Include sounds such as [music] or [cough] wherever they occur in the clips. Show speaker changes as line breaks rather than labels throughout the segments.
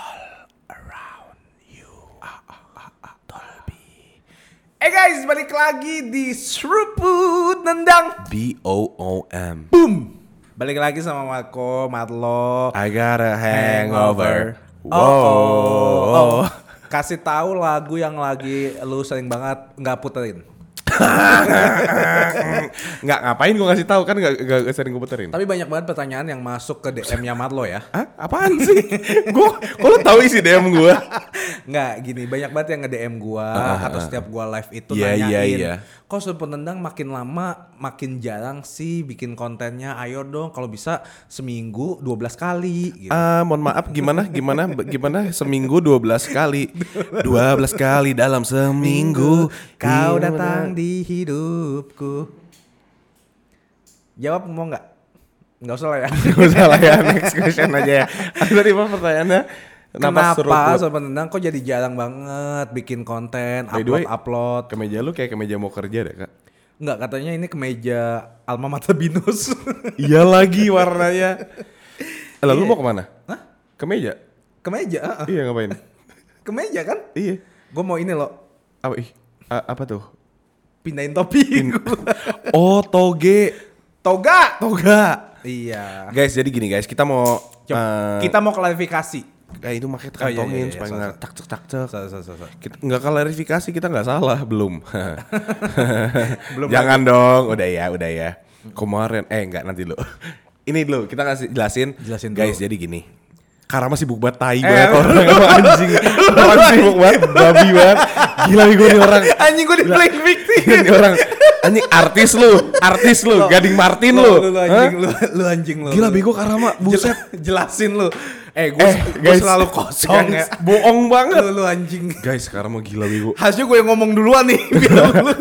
Hey Eh, guys, balik lagi di Seruput Nendang
B O O M.
Boom Balik lagi sama Marco, Matlo
I got a hangover.
Oh, oh, oh.
Wow.
Kasih tahu lagu yang lagi lu sering banget nggak puterin
Nggak ngapain gua ngasih tahu kan nggak nggak nggak sering gue puterin.
Tapi banyak banget pertanyaan yang masuk ke DM-nya Matlo ya
Hah? Apaan sih? [laughs] gua kalau tahu isi DM gua.
[laughs] Nggak, gini banyak banget yang nge-DM gua Atau setiap gua live itu
Iya,
nanyain
iya, iya.
Kok Seruput Nendang makin lama makin jarang sih bikin kontennya Ayo dong kalau bisa seminggu 12 kali gitu.
Ah, mohon maaf gimana gimana gimana seminggu 12 kali. 12 kali dalam seminggu
Kau
Gimana?
datang di hidupku. Jawab mau nggak? Nggak usah lah ya.
[laughs] Nggak usah lah ya next question aja ya. Aku tadi apa pertanyaannya?
Kenapa,
seruput?
sobat penendang kok jadi jarang banget bikin konten,
By the way-
upload-upload?
Kemeja lu kayak kemeja mau kerja deh kak.
Nggak, katanya ini kemeja Alma Mater Binus. [laughs]
Iya lagi warnanya. Lalu mau kemana? Hah? Ke meja?
kemeja, ah, ah.
Iya ngapain?
kemeja kan?
iya.
Gue mau ini loh,
Apa, ih, a- apa tuh?
pindahin topi. gua.
Oh toge.
[laughs] Toga!
Toga.
Iya.
Guys jadi gini guys kita mau.
Coba, kita mau klarifikasi.
eh, itu
Oh,
makanya
iya,
terkantongin
iya, iya,
supaya
sorry,
nggak tak cek tak cek.
So, so, so, so.
Kita nggak klarifikasi kita nggak salah [laughs] belum.
Belum
Jangan dong. Udah ya udah ya. Kemarin eh nggak nanti dulu. [laughs] Ini dulu kita kasih jelasin.
Jelasin
guys
dulu.
jadi gini. Karama sibuk banget tai
Eh,
[laughs] banget orang sama anjing. Orang sibuk banget babi banget. Gila nih gue nih orang.
[laughs] Anjing gue di playing victim.
Ini orang anjing artis lu, artis lu, Gading Martin lu.
Lu,
Hah?
anjing, lu, lu anjing lu.
Gila
Lu.
bego Karama, buset.
Jelasin lu. Eh, gue
Eh, guys,
selalu kosong
[laughs] guys,
ya.
Bohong banget.
Lu, lu anjing.
Guys, Karama gila bego.
Harusnya gue yang ngomong duluan nih. [laughs] Biar lu,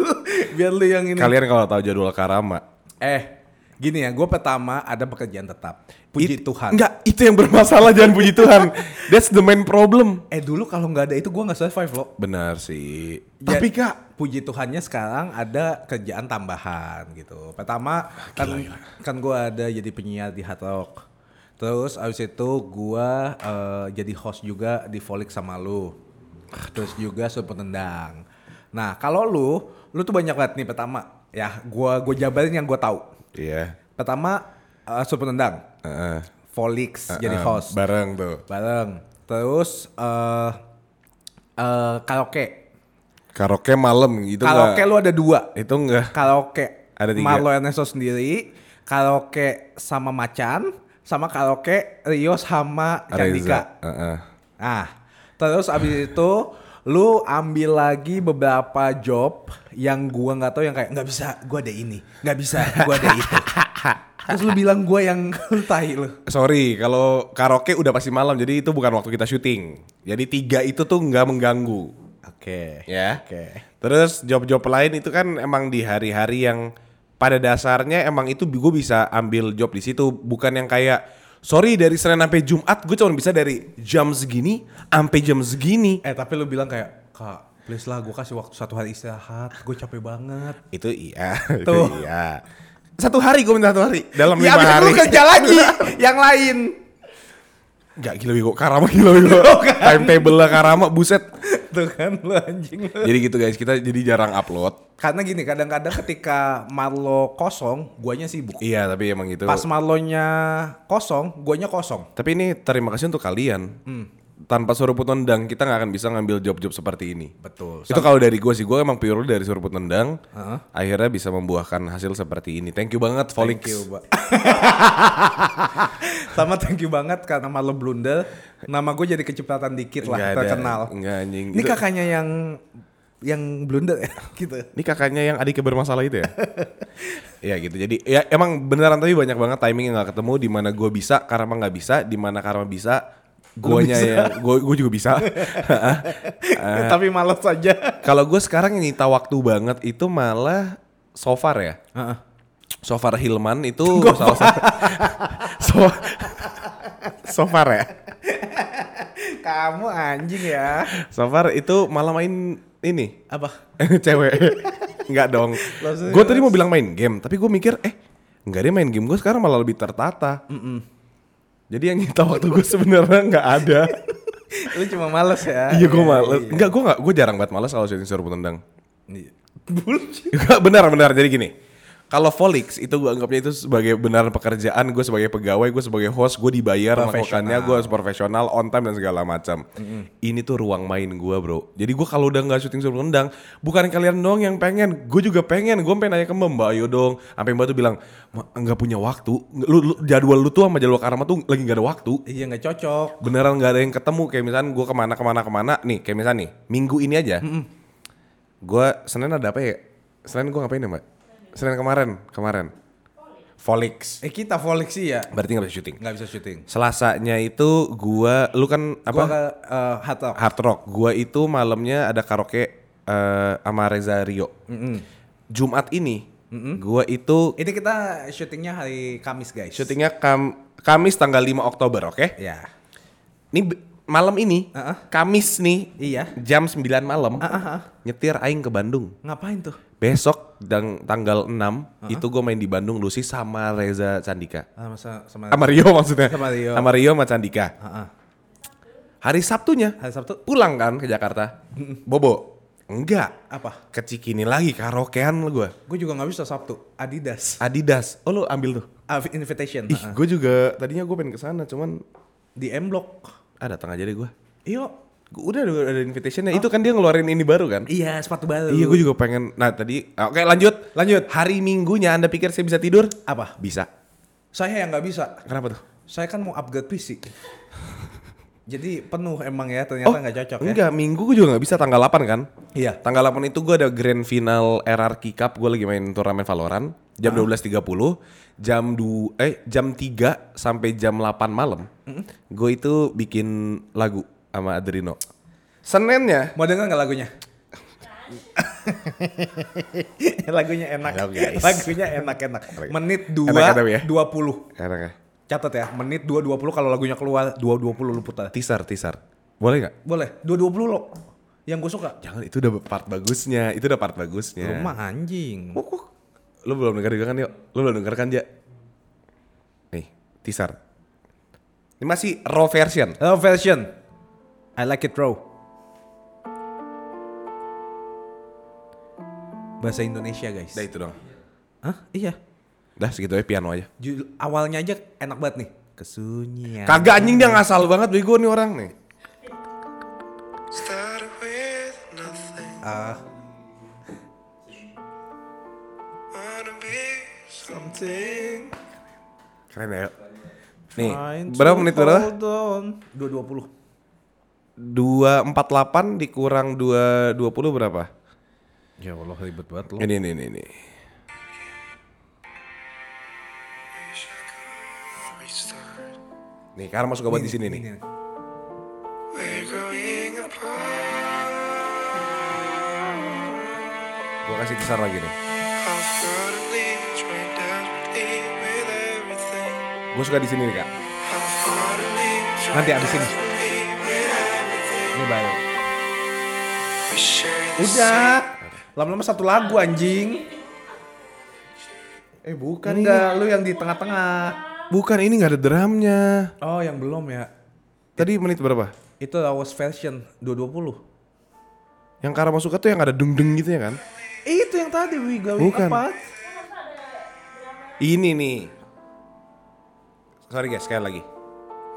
biar lu yang ini.
Kalian kalau tahu jadwal Karama,
Eh, gini ya. Gue pertama ada pekerjaan tetap. Puji
It-
Tuhan.
Enggak, itu yang bermasalah jangan puji Tuhan. That's the main problem.
Eh, dulu kalau nggak ada itu gue nggak survive loh.
Benar sih.
Ya,
Tapi Kak,
Puji Tuhannya sekarang ada kerjaan tambahan gitu. Pertama kan kan gue ada jadi penyiar di Hard Rock. Terus abis itu gue jadi host juga di Volix sama lu. Terus juga super tendang. Nah kalau lu, lu tuh banyak banget nih pertama. Ya gue gue jabarin yang gue tahu.
iya.
Pertama eh, super tendang,
Heeh.
Volix jadi
Heeh,
host
bareng tuh.
bareng. Terus eh eh, karaoke.
Karaoke malam gitu
Karaoke
enggak?
lu ada dua
Itu enggak.
karaoke
Ada tiga.
Marlo Ernesto sendiri karaoke sama Macan sama karaoke Rio sama Cantika
Reza. Heeh.
nah terus abis itu lu ambil lagi beberapa job yang gua nggak tahu yang kayak nggak bisa gua ada ini nggak bisa gua ada
[laughs]
itu terus lu bilang gua yang [laughs] tai lu
Sorry, kalau karaoke udah pasti malam, jadi itu bukan waktu kita syuting. Jadi tiga itu tuh nggak mengganggu,
oke
ya.
oke
Terus job-job lain itu kan emang di hari-hari yang pada dasarnya emang itu gue bisa ambil job di situ, bukan yang kayak sorry dari Senin sampai Jumat gue cuma bisa dari jam segini sampai jam segini.
eh tapi lu bilang kayak kak please lah gua kasih waktu satu hari istirahat gue capek banget
Itu iya, [laughs]
Tuh.
itu iya. Satu hari gue minta satu hari dalam
ya
lima
abis itu
hari.
lu kerja lagi
[laughs]
yang lain
Gak gila bego, Karama gila
[laughs]
bego. Timetable lah Karama, buset.
Tuh kan lu anjing lu.
Jadi gitu guys, kita jadi jarang upload.
Karena gini kadang-kadang ketika Marlo kosong, guanya sibuk.
Iya, tapi emang gitu.
Pas Marlonya kosong, guanya kosong.
Tapi ini terima kasih untuk kalian. Tanpa suruput nendang kita nggak akan bisa ngambil job-job seperti ini.
Betul.
Itu kalau dari gue sih, gue emang pure dari suruput nendang. Akhirnya bisa membuahkan hasil seperti ini. Thank you banget, Volix.
Thank you,
[laughs]
Pak. Sama thank you banget karena Marlo blunder, nama gue jadi kecipratan dikit lah,
Nggak ada,
terkenal.
nggak anjing.
Ini
Itu-
kakaknya yang yang blunder ya [laughs] gitu.
Ini kakaknya yang adiknya bermasalah itu ya? ya gitu. Jadi ya emang beneran tapi banyak banget timing yang nggak ketemu di mana gue bisa, Karma nggak bisa, di mana Karma bisa, guanya
bisa.
ya, gue juga bisa. Eh.
Tapi malas aja.
Kalau gue sekarang yang nyita waktu banget itu malah so far ya. So far Hilman [laughs] itu salah satu. so, so far ya.
Kamu anjing ya.
So far itu malah main ini [laughs]
Apa?
cewek nggak dong
Langsung-
gue tadi mau bilang main game tapi gue mikir eh nggak dia main game gue sekarang malah lebih tertata jadi yang nyita waktu gue sebenarnya nggak [laughs] ada
Lu cuma malas ya.
iya gue males nggak gue nggak gue jarang banget males kalau syuting suruh tendang
Iya. Bullshit.
[laughs] Enggak, benar benar jadi gini kalau Volix itu gue anggapnya itu sebagai benar pekerjaan gue sebagai pegawai gue sebagai host gue dibayar melakukannya gue harus profesional on time dan segala macam ini tuh ruang main gue bro jadi gue kalau udah nggak syuting sebelum rendang bukan kalian dong yang pengen gue juga pengen gue pengen nanya ke mbak mbak ayo dong sampai mbak tuh bilang "Ma, nggak punya waktu lu, lu- jadwal lu tuh sama jadwal karma tuh lagi nggak ada waktu
Iya nggak cocok.
beneran nggak ada yang ketemu kayak misalnya gue kemana kemana kemana nih kayak misalnya nih minggu ini aja gue senin ada apa ya senin gue ngapain ya mbak senin kemarin kemarin Volix
Eh kita Volix sih ya
berarti nggak bisa syuting
nggak bisa syuting.
selasanya itu gue lu kan
Gua
apa
ke eh, Hard Rock.
hard rock gue itu malamnya ada karaoke eh, sama Reza Rio Jumat ini gue itu
Ini kita syutingnya hari Kamis guys.
syutingnya Kam- Kamis tanggal 5 Oktober oke
Ya.
Ini be- malam ini,
Ah-ah.
Kamis nih,
Iya.
jam 9 malam, nyetir aing ke Bandung.
Ngapain tuh?
Besok dan tanggal 6 itu gue main di Bandung Lucy sama Reza Candika.
Ah, masa- sama
Sama Rio maksudnya.
Sama Rio.
Sama Rio sama Candika.
Ah, ah.
Hari Sabtunya
hari Sabtu
pulang kan ke Jakarta. Bobo. Enggak.
apa?
Ke Cikini lagi karaokean lu gue.
Gue juga nggak bisa Sabtu. Adidas.
Adidas. Oh lu ambil tuh.
Ah, invitation.
Ih,
Ah, ah.
gue juga tadinya gue pengen ke sana cuman
Di Iya. M Block.
ah datang aja deh gue.
Iyo.
Udah udah ada invitationnya.
Oh.
Itu kan dia ngeluarin ini baru kan?
Iya sepatu baru.
Iya, gue juga pengen. Nah, tadi oke lanjut. Lanjut. Hari Minggunya Anda pikir saya bisa tidur?
Apa?
Bisa.
Saya yang nggak bisa.
Kenapa tuh?
Saya kan mau upgrade
[laughs]
PC. Jadi penuh emang ya ternyata nggak cocok ya.
Oh, Enggak, Minggu gue juga nggak bisa tanggal 8 kan?
Iya.
Tanggal 8 itu gue ada grand final RRQ Cup, gue lagi main turnamen
Ah.
Valorant jam 12.30, jam du eh jam 3 sampai jam 8 malam. Gue itu bikin lagu sama Adrino. Seninnya
Mau denger nggak lagunya? [laughs] lagunya enak.
Halo, guys.
Lagunya enak-enak. Menit 2
Enak-enak ya?
20.
Enak ya?
Catat ya, menit 2.20 kalau lagunya keluar 2.20 lu putar.
Teaser, teaser. Boleh nggak?
Boleh, 2.20 lo. Yang gue suka.
Jangan, itu udah part bagusnya. Itu udah part bagusnya.
Rumah anjing.
Wuk, wuk. Lu belum denger juga kan yuk? Lu belum denger kan Ja? Nih, teaser. Ini masih raw version.
Hello version. I like it raw. Bahasa Indonesia guys.
Udah itu dong.
Hah? Iya.
Dah segitu aja piano aja.
Ju- awalnya aja enak banget nih. Kesunyian.
Kagak anjing dia ngasal banget bego nih orang nih.
Started with nothing.
Ah,
Wanna be something.
Keren ya. yuk. Nih,
trying to
berapa menit berapa?
hold on. 2.20.
248 dikurang 220 berapa?
Ya Allah ribet banget lo.
Ini ini ini ini.
Wish I could restart.
Nih, Karma suka banget di sini nih.
We're growing apart.
Gua kasih teaser lagi nih.
I've got to leave, trying desperately with everything.
Gua suka di sini nih, Kak.
I've got to leave, trying
Nanti abis ini.
desperately with everything.
Ini baru.
We share the
Udah. Lama-lama satu lagu anjing.
Eh, bukan
Enggak, lu yang di tengah-tengah.
Bukan ini nggak ada drumnya.
Oh, yang belum ya.
Tadi menit berapa?
Itu Lawas version 220.
Yang Karma suka tuh yang ada deng-deng gitu ya kan?
Eh, itu yang tadi we going
Bukan.
apart.
Ini nih. Sorry guys, sekali lagi.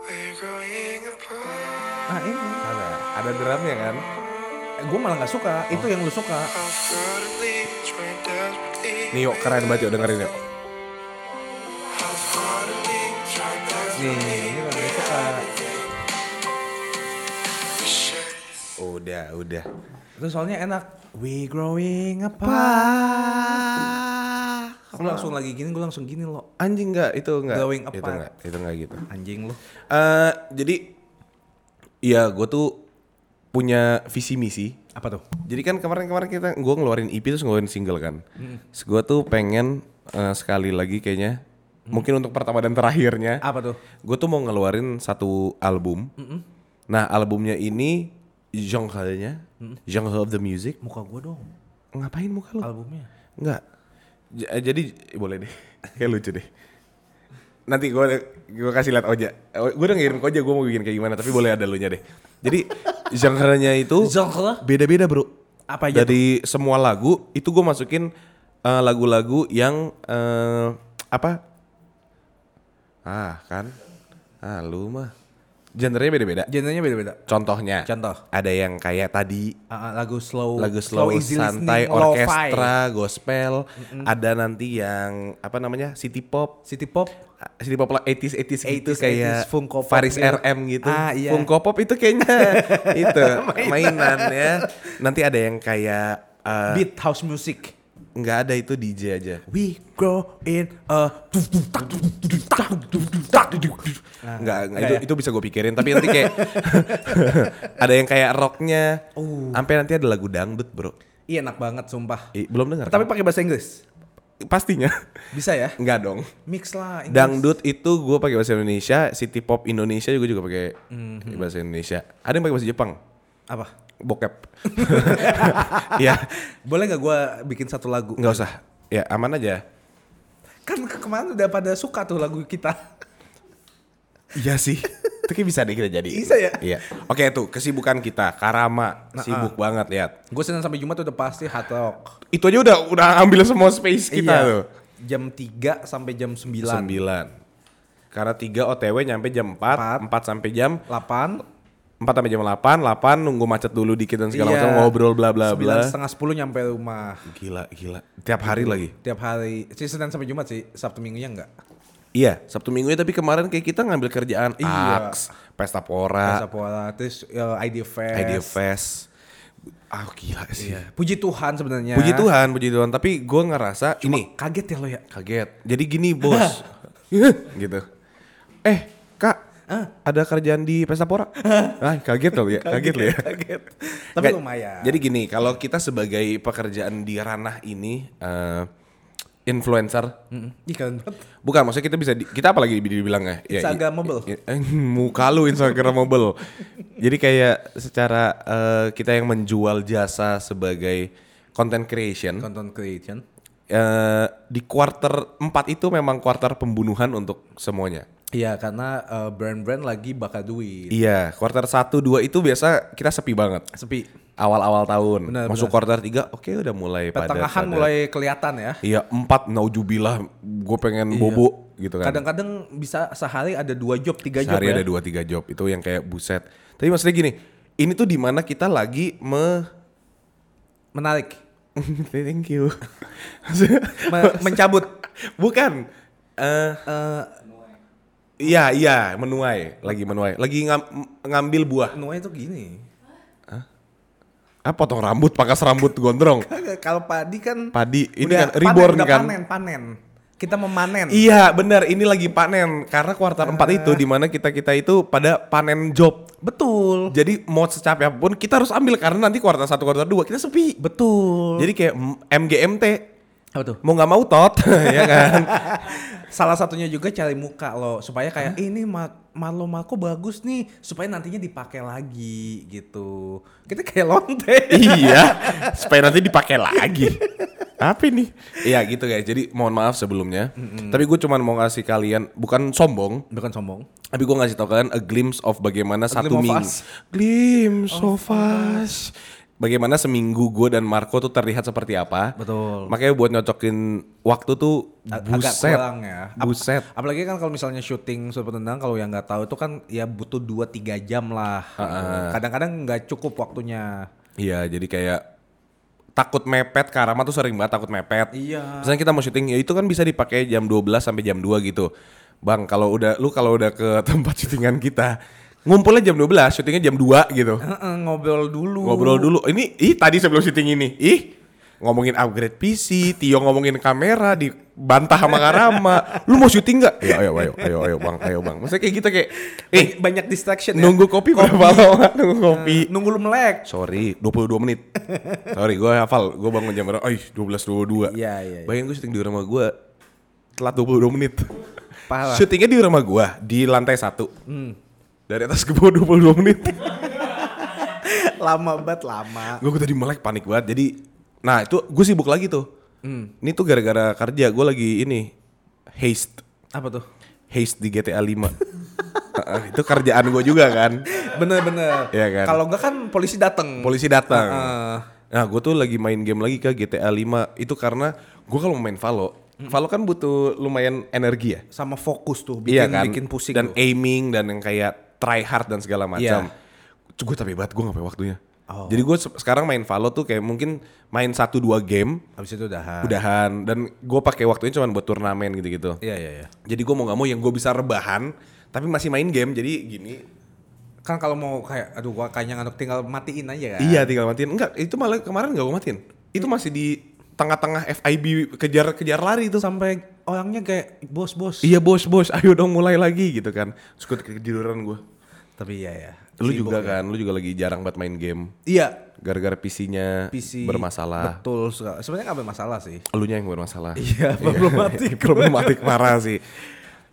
We're growing apart.
Nah, ini.
Ada, ada drumnya kan?
Eh, gue malah nggak suka.
Oh.
Itu yang lu suka.
I've got to leave, trying desperately.
Nih yuk, keren banget yuk dengerin yuk.
I've got to leave, trying
Nih,
desperately.
ini yang lu suka.
We share
Udah, udah.
Itu soalnya enak. We growing apart. Aku langsung lagi gini, gue langsung gini loh.
Anjing nggak? Itu nggak?
Blowing
Itu
apart.
nggak? Itu nggak gitu.
Anjing lu.
Eh, jadi, ya gue tuh punya visi misi.
Apa tuh?
Jadi kan kemarin-kemarin kita gue ngeluarin EP terus ngeluarin single kan. Terus Gue tuh pengen eh, sekali lagi kayaknya, mungkin untuk pertama dan terakhirnya,
Apa tuh?
gue tuh mau ngeluarin satu album. Nah albumnya ini genre-nya, genre of the music.
Muka gue dong.
Ngapain muka lu?
Albumnya.
Enggak. J- eh, jadi eh, boleh deh, [laughs] kayak lucu deh. Nanti gue gua kasih liat Oja. Gue udah ngirim ke Oja
[laughs]
gue mau bikin kayak gimana, tapi boleh ada lunya deh. Jadi genre-nya itu
Genre?
beda-beda bro.
Apa aja? tuh?
dari semua lagu itu gue masukin eh, lagu-lagu yang eh, apa ah kan ah lu mah genrenya beda-beda
Genrenya beda-beda.
contohnya
Contoh.
ada yang kayak tadi
Ah, ah, lagu slow,
lagu slow,
easy
santai
listening, lo-fi.
orkestra gospel ada nanti yang apa namanya city pop
city pop.
city pop lah 80s 80s gitu
80s,
kayak
80s, Funko Pop
Faris
gitu.
RM gitu.
Ah, iya.
Funko Pop itu
[laughs]
kayaknya itu mainan ya. Nanti ada yang kayak eh,
beat house music.
nggak ada itu DJ aja.
We grow in a
Nggak, nggak,
nggak
itu,
ya?
itu bisa gue pikirin tapi nanti
[laughs]
kayak ada yang kayak rocknya
Oh.
sampai nanti ada lagu dangdut bro
Iya enak banget sumpah.
Ih, belum dengar
Tapi pakai bahasa Inggris.
pastinya [laughs]
Bisa ya?
nggak dong
Mix lah Inggris.
dangdut itu gue pakai bahasa Indonesia city pop Indonesia juga juga pakai
Mhm.
bahasa Indonesia ada yang pakai bahasa Jepang
apa?
bokep [laughs] ya
Boleh gak gue bikin satu lagu?
nggak usah ya aman aja
Kan ke- kemarin udah pada suka tuh lagu kita.
Iya sih. Itu kayak bisa deh kita jadi.
Bisa ya?
Iya. Oke tuh kesibukan kita. Karama
Nah, ah.
sibuk banget lihat.
gue Senin sampai Jumat udah pasti hard rock.
Itu aja udah udah ambil semua space kita
Iya.
tuh.
Jam 3 sampai jam 9.
9. Karena 3 OTW nyampe jam 4, 4, sampai jam
8.
4 sampai jam 8, 8 nunggu macet dulu dikit dan segala
Iya.
macam ngobrol bla bla
Sembilan
bla.
setengah 10 nyampe rumah.
Gila, gila. Tiap hari lagi.
Tiap hari. Sih Senin sampai Jumat sih. Sabtu minggunya enggak.
Iya, Sabtu Minggunya tapi kemarin kayak kita ngambil kerjaan
Iya.
Aks, Pesta Pora,
Bahasa Pola. Terus ya, ID Fest.
Idea Ah. Fest. Ah, gila sih.
Puji Tuhan sebenarnya.
Puji Tuhan, puji Tuhan. Tapi gue ngerasa ini
Kaget ya lo ya.
kaget. Jadi gini [laughs] bos, gitu. Eh kak, ada kerjaan di Pesta Pora? ah kaget loh ya, kaget loh ya. [laughs]
Kaget. Tapi
Tapi
lumayan.
Jadi gini, kalau kita sebagai pekerjaan di ranah ini eh, influencer,
Mm-mm. Iya kan? Ih keren banget.
bukan maksudnya kita bisa di- kita apalagi dibilangnya? Ya, i-
Instagramable.
i- eh, Muka lu Instagramable. Jadi kayak secara eh, kita yang menjual jasa sebagai content creation.
Content creation.
Eh, di quarter 4 itu memang quarter pembunuhan untuk semuanya.
Iya karena eh, brand-brand lagi bakal duit.
Iya, quarter 1 2 itu biasa kita sepi banget.
Sepi.
Awal-awal tahun.
Benar,
Masuk
benar.
quarter 3 oke udah mulai pada
Pertengahan
pada-
mulai kelihatan ya.
Iya, 4 naujubillah gue
Iya.
pengen bobo gitu kan.
Kadang-kadang bisa sehari ada dua job, tiga job
Sehari
ya.
ada 2 3 job itu yang kayak buset. Tapi maksudnya gini, ini tuh dimana kita lagi me
Menarik.
[laughs] thank you.
[laughs] Me- mencabut.
Bukan. Eh
Eh,
Iya iya menuai lagi menuai lagi ngam- ngambil buah
Nuai itu gini. [laughs]
ah potong rambut pangkas rambut gondrong
Kagak, Kalau padi kan
padi ini
udah
kan reborn
panen, udah
kan
Panen, panen. Kita memanen.
iya benar ini lagi panen karena kuartal
Eh.
4 itu dimana kita kita itu pada panen job
Betul.
jadi mau secapek apapun kita harus ambil karena nanti kuartal 1 kuartal 2 kita sepi
Betul.
jadi kayak M- MGMT
Apa tuh?
mau nggak mau tot
[laughs]
ya kan
Salah satunya juga cari muka lo supaya kayak "Eh, ini Mar- Marlo Marco bagus nih supaya nantinya dipakai lagi gitu. Kita kayak lonte.
iya supaya nanti dipakai lagi apa ini iya gitu guys jadi mohon maaf sebelumnya tapi gue cuman mau ngasih kalian bukan
[laughs]
sombong
Bukan sombong.
Tapi gue ngasih tau kalian a glimpse of bagaimana satu
of
minggu.
us.
Glimpse of us. Bagaimana seminggu gue dan Marco tuh terlihat seperti apa.
Betul.
Makanya buat nyocokin waktu tuh
A-
buset.
kurang ya. Ap-
Buset.
Apalagi kan kalau misalnya syuting sepak tendang kalau yang nggak tahu itu kan ya butuh 2 3 jam lah. Kadang-kadang nggak cukup waktunya.
Iya jadi kayak takut mepet Karama tuh sering banget takut mepet.
Iya.
Misalnya kita mau syuting ya itu kan bisa dipakai jam 12 sampai jam 2 gitu. Bang kalau udah lu kalau udah ke [laughs] tempat syutingan kita ngumpulnya jam 12, syutingnya jam 2 gitu.
Heeh, ngobrol dulu.
ngobrol dulu. Ini ih tadi sebelum syuting ini. Ih ngomongin upgrade PC, Tio ngomongin kamera dibantah sama Karama.
[laughs]
Lu mau syuting nggak? Ya, ayo, ayo, ayo, ayo, bang, ayo bang. Maksudnya kayak gitu kayak, eh
Banyak- banyak distraction ya. Nah.
nunggu kopi berapa lama? Nunggu kopi.
Nunggu lu melek.
Sorry, 22 menit. Sorry, gue hafal. Gue bangun jam berapa? Oh,
Iya,
12.22.
iya, iya.
Bayangin gue syuting di rumah gue telat 22 menit.
Parah. Hmm.
Syutingnya di rumah gue di lantai satu. Dari atas ke bawah 22 menit.
[laughs]
[laughs]
lama banget lama.
gue tadi melek panik banget jadi nah itu gue sibuk lagi tuh
Hmm.
ini tuh gara-gara kerja gue lagi ini haste
Apa tuh?
haste di
[laughs]
GTA 5 Heeh, itu kerjaan gue juga kan
Bener-bener.
Iya kan?
Kalau nggak kan polisi datang.
polisi datang
Heeh.
Nah, gue tuh lagi main game lagi ke GTA 5 itu karena gue kalau main Valo, Valo kan butuh lumayan energi ya.
Sama fokus tuh bikin
Iya kan?
bikin pusing tuh.
dan
Iya.
aiming dan yang kayak try hard dan segala macam. Gue tapi banget gue gak punya waktunya.
Oh.
Jadi gue se- sekarang main Valo tuh kayak mungkin main satu dua game
Habis itu udahan.
udahan dan gue pakai waktunya cuma buat turnamen gitu-gitu.
Iya iya iya.
Jadi gue mau nggak mau yang gue bisa rebahan tapi masih main game jadi gini.
Kan kalau mau kayak aduh gua kayaknya ngantuk tinggal matiin aja kan. Hmm.
Iya tinggal matiin. Enggak, itu malah kemarin nggak gue matiin. Itu masih di tengah-tengah FIB kejar-kejar lari itu.
Sampai orangnya kayak bos-bos.
Iya bos bos, ayo dong mulai lagi gitu kan. Terus gue ketiduran gue.
Tapi iya ya.
Lu
Sibuk
juga
ya.
kan, lu juga lagi jarang banget main game.
Iya.
Gara-gara PC-nya
PC
bermasalah.
Betul. sekali. Sebenarnya nggak bermasalah sih.
Elunya yang bermasalah. [laughs]
Iya, problematik.
Problematik parah sih.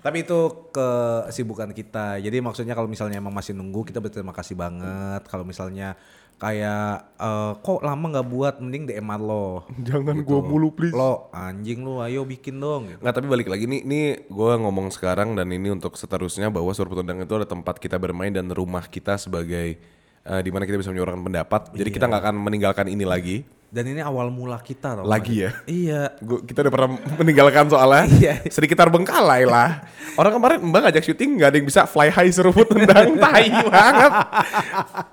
Tapi itu kesibukan kita. Jadi maksudnya kalau misalnya emang masih nunggu, kita berterima kasih banget. Kalau misalnya kayak eh, kok lama nggak buat, mending DM -an lo.
Jangan gua mulu, please.
Lo anjing lu, ayo bikin dong. Gitu.
Gitu. Nggak tapi balik lagi nih, nih gue ngomong sekarang dan ini untuk seterusnya bahwa Surabaya Tendang itu ada tempat kita bermain dan rumah kita sebagai eh, di mana kita bisa menyuarakan pendapat. Jadi kita nggak akan meninggalkan ini lagi.
Dan ini awal mula kita, tau nggak?
Lagi ya?
Iya.
Gua, kita udah pernah meninggalkan soalnya
[laughs] Iya.
sekitar bengkalai lah. Orang kemarin mbak ngajak syuting nggak ada yang bisa fly high seruput
[laughs]
tendang tai banget.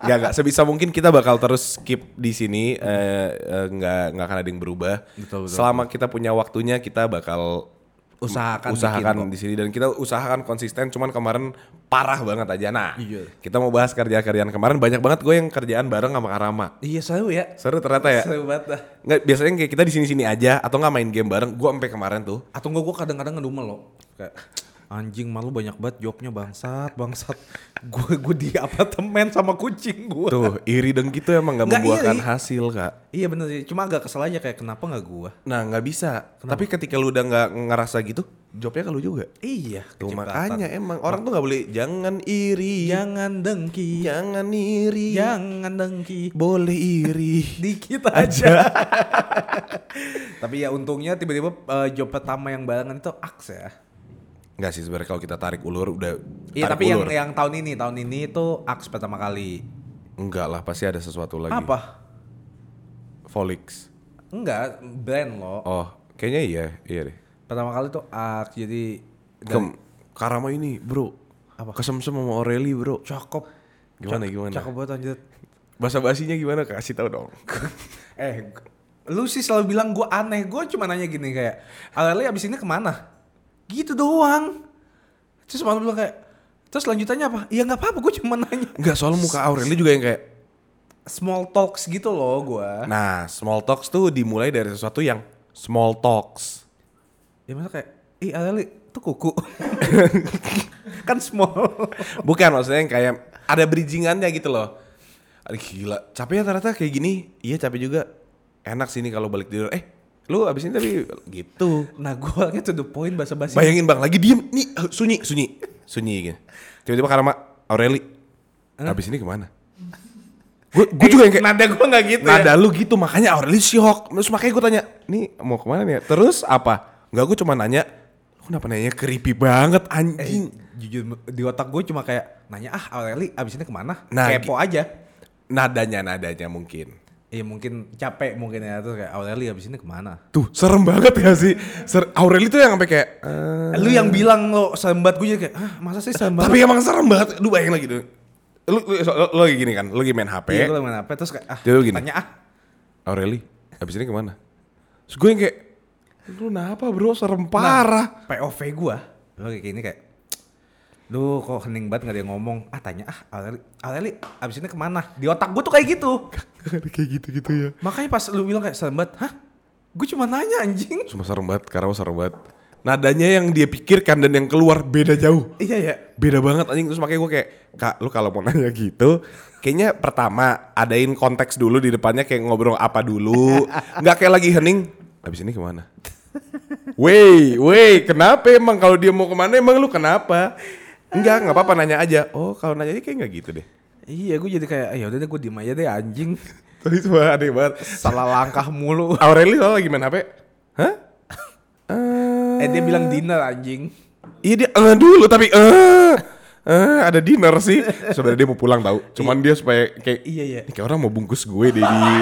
ya nggak sebisa mungkin kita bakal terus skip di sini eh, eh, nggak nggak akan ada yang berubah.
Betul, betul.
Selama kita punya waktunya kita bakal
Usahakan bikin
usahakan
kok.
di sini dan kita usahakan konsisten. Cuman kemarin parah banget aja. Nah
Iya.
kita mau bahas kerja-kerjaan kemarin banyak banget gue yang kerjaan bareng sama Karama.
Iya seru ya.
Seru ternyata ya.
Seru banget dah.
Nggak, biasanya kayak kita di sini-sini aja atau nggak main game bareng. Gua sampai kemarin tuh.
Atau enggak gue kadang-kadang ngedumel lo. Kayak anjing malu banyak banget jobnya bangsat bangsat. [laughs] Gue gue di apartemen sama kucing gue.
Tuh, iri dengki tuh emang nggak
Nggak iya,
membuahkan
iri.
hasil, Kak.
Iya bener sih. Cuma agak kesel aja kayak kenapa nggak gue?
Nah, nggak bisa. Tapi ketika lu udah nggak ngerasa gitu, jobnya ke lu juga.
Iya.
Tuh,
keciptaan.
makanya emang orang tuh nggak boleh jangan iri.
Jangan dengki.
Jangan iri.
Jangan dengki.
Boleh
[laughs]
iri.
Dikit aja. [laughs] Tapi ya untungnya tiba-tiba eh, job pertama yang barengan itu aks ya.
Nggak sih sebenarnya kalau kita tarik ulur udah
Iya
tarik
tapi yang
ulur.
yang tahun ini tahun ini itu aks pertama kali.
Enggak lah, pasti ada sesuatu lagi.
Apa?
Volix.
Enggak brand lo.
Oh, kayaknya iya, iya deh.
Pertama kali tuh aks jadi
Kem, Karama ini, Bro. Apa? Kesemsem sama Aureli, Bro.
cakep.
Gimana, gimana?
Cakep banget anjir.
Bahasa basinya gimana? Kak? Kasih tahu dong.
[laughs] Eh lu sih selalu bilang gue aneh. Gue cuma nanya gini kayak Alele abis ini kemana? Gitu doang. Terus malu bilang kayak Terus lanjutannya apa? Ya nggak apa-apa, gue cuma nanya. [laughs]
Enggak, soalnya muka Aureli juga yang kayak
small talks gitu loh gua.
Nah, small talks tuh dimulai dari sesuatu yang small talks.
Ya masa kayak, ih Aleli, tuh kuku. [laughs] kan small.
Bukan maksudnya yang kayak ada bridgingannya gitu loh. Aduh gila, capek ya ternyata kayak gini. Iya capek juga. Enak sini kalau balik tidur. Eh, lu abis ini tapi gitu.
Nah gua orangnya to the point basa-basi.
Bayangin bang, lagi diem. Nih, eh, sunyi, sunyi. Sunyi gitu. Tiba-tiba karena Aureli. Abis ini kemana? Gue
Eh,
juga yang kayak...
nada gua gak gitu
Nada
ya.
lu gitu makanya Aureli syok. Terus makanya gue tanya, "Nih mau kemana nih?" ya?" Terus apa? Enggak gue cuma nanya, "Lu kenapa nanya creepy banget
Eh,
anjing?"
jujur di otak gue cuma kayak nanya ah Aleli abis ini kemana?
Nah,
Kepo aja.
Nadanya nadanya mungkin.
Iya mungkin capek mungkin ya terus kayak Aleli abis ini kemana?
Tuh, serem banget gak sih? Ser- Aureli tuh yang sampai kayak "Eh,
Lu yang bilang lo sembat gue jadi kayak ah masa sih sembat?
tapi emang serem banget. Lu bayangin lagi tuh. Lu, lu, so- lu- lu lagi gini kan, lu lagi main HP.
Iya gue lagi main apa terus kayak ah
Jadi lu gini.
tanya ah
Aureli, abis ini kemana? Terus gue yang kayak, lu kenapa
Nah.
bro? Serem parah. [laughs]
POV gua lo kayak gini kayak lu kok hening banget gak ada yang ngomong ah tanya ah Aleli Aleli abis ini kemana di otak gua tuh kayak gitu
kayak gitu-gitu ya.
makanya pas lu bilang kayak serem banget hah gua cuma nanya anjing [laughs]
Cuma serem banget, karena serem banget. Nadanya yang dia pikirkan dan yang keluar beda jauh.
iya ya
beda banget anjing terus makanya gue kayak kak lu kalau mau nanya gitu kayaknya pertama adain konteks dulu di depannya kayak ngobrol apa dulu nggak kayak lagi hening abis ini kemana Wey, wey, kenapa emang kalau dia mau kemana emang lu kenapa? Enggak, nggak apa-apa nanya aja. Oh, kalau nanya aja kayak nggak gitu deh. [laughs]
iya gua jadi kayak ya udah deh gua diem aja deh anjing [laughs]
Tadi cuma aneh banget.
salah langkah mulu
Aureli soalnya lagi main HP. Hah? Eh,
eh dia bilang dinner anjing
Iya dia eh dulu tapi eh eh ada dinner sih. Sebenarnya dia mau pulang tahu. Cuman dia supaya kayak
Iya, iya.
"Ini kayak orang mau bungkus gue deh di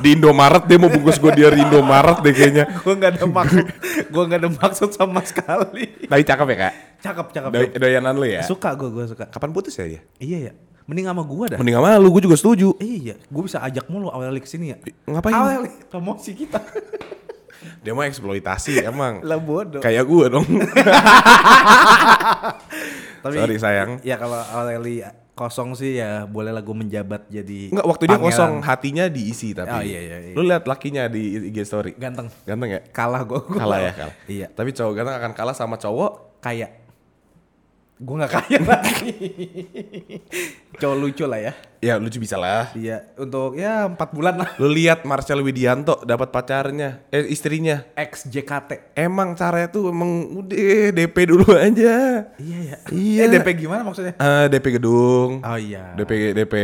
di Indomaret dia mau bungkus gue di Indomaret deh kayaknya.
gue nggak ada maksud gue nggak ada maksud sama sekali
Tapi cakep ya kak.
cakep cakep
Doy- doyanan lu ya.
suka gue gue suka
Kapan putus ya dia?
iya ya mending sama gue dah
Mending sama lu, gue juga setuju.
iya gue bisa ajak mulu awal ke sini ya
Ngapain?
awal promosi
[laughs]
kita
Dia mau eksploitasi emang.
lah bodoh
Kayak gue dong.
Tapi,
Sorry, sayang.
ya kalau Aureli kosong sih ya boleh lah gue menjabat jadi
Enggak, waktu dia
pangeran.
kosong, hatinya diisi tapi.
Oh, iya, iya, iya.
Lu lihat lakinya di IG story.
ganteng
Ganteng ya?
kalah gue
Kalah ya, kalah.
iya
Tapi cowok ganteng akan kalah sama cowok
kaya gue nggak kaya [laughs] lagi cowok lucu lah ya
ya lucu bisa lah.
iya untuk ya empat bulan lah
Lu lihat Marcel Widianto dapat pacarnya, eh istrinya.
ex JKT
Emang caranya tuh emang udah DP dulu aja.
iya ya
Iya.
eh, DP gimana maksudnya
Eh, DP gedung.
oh iya
DP DP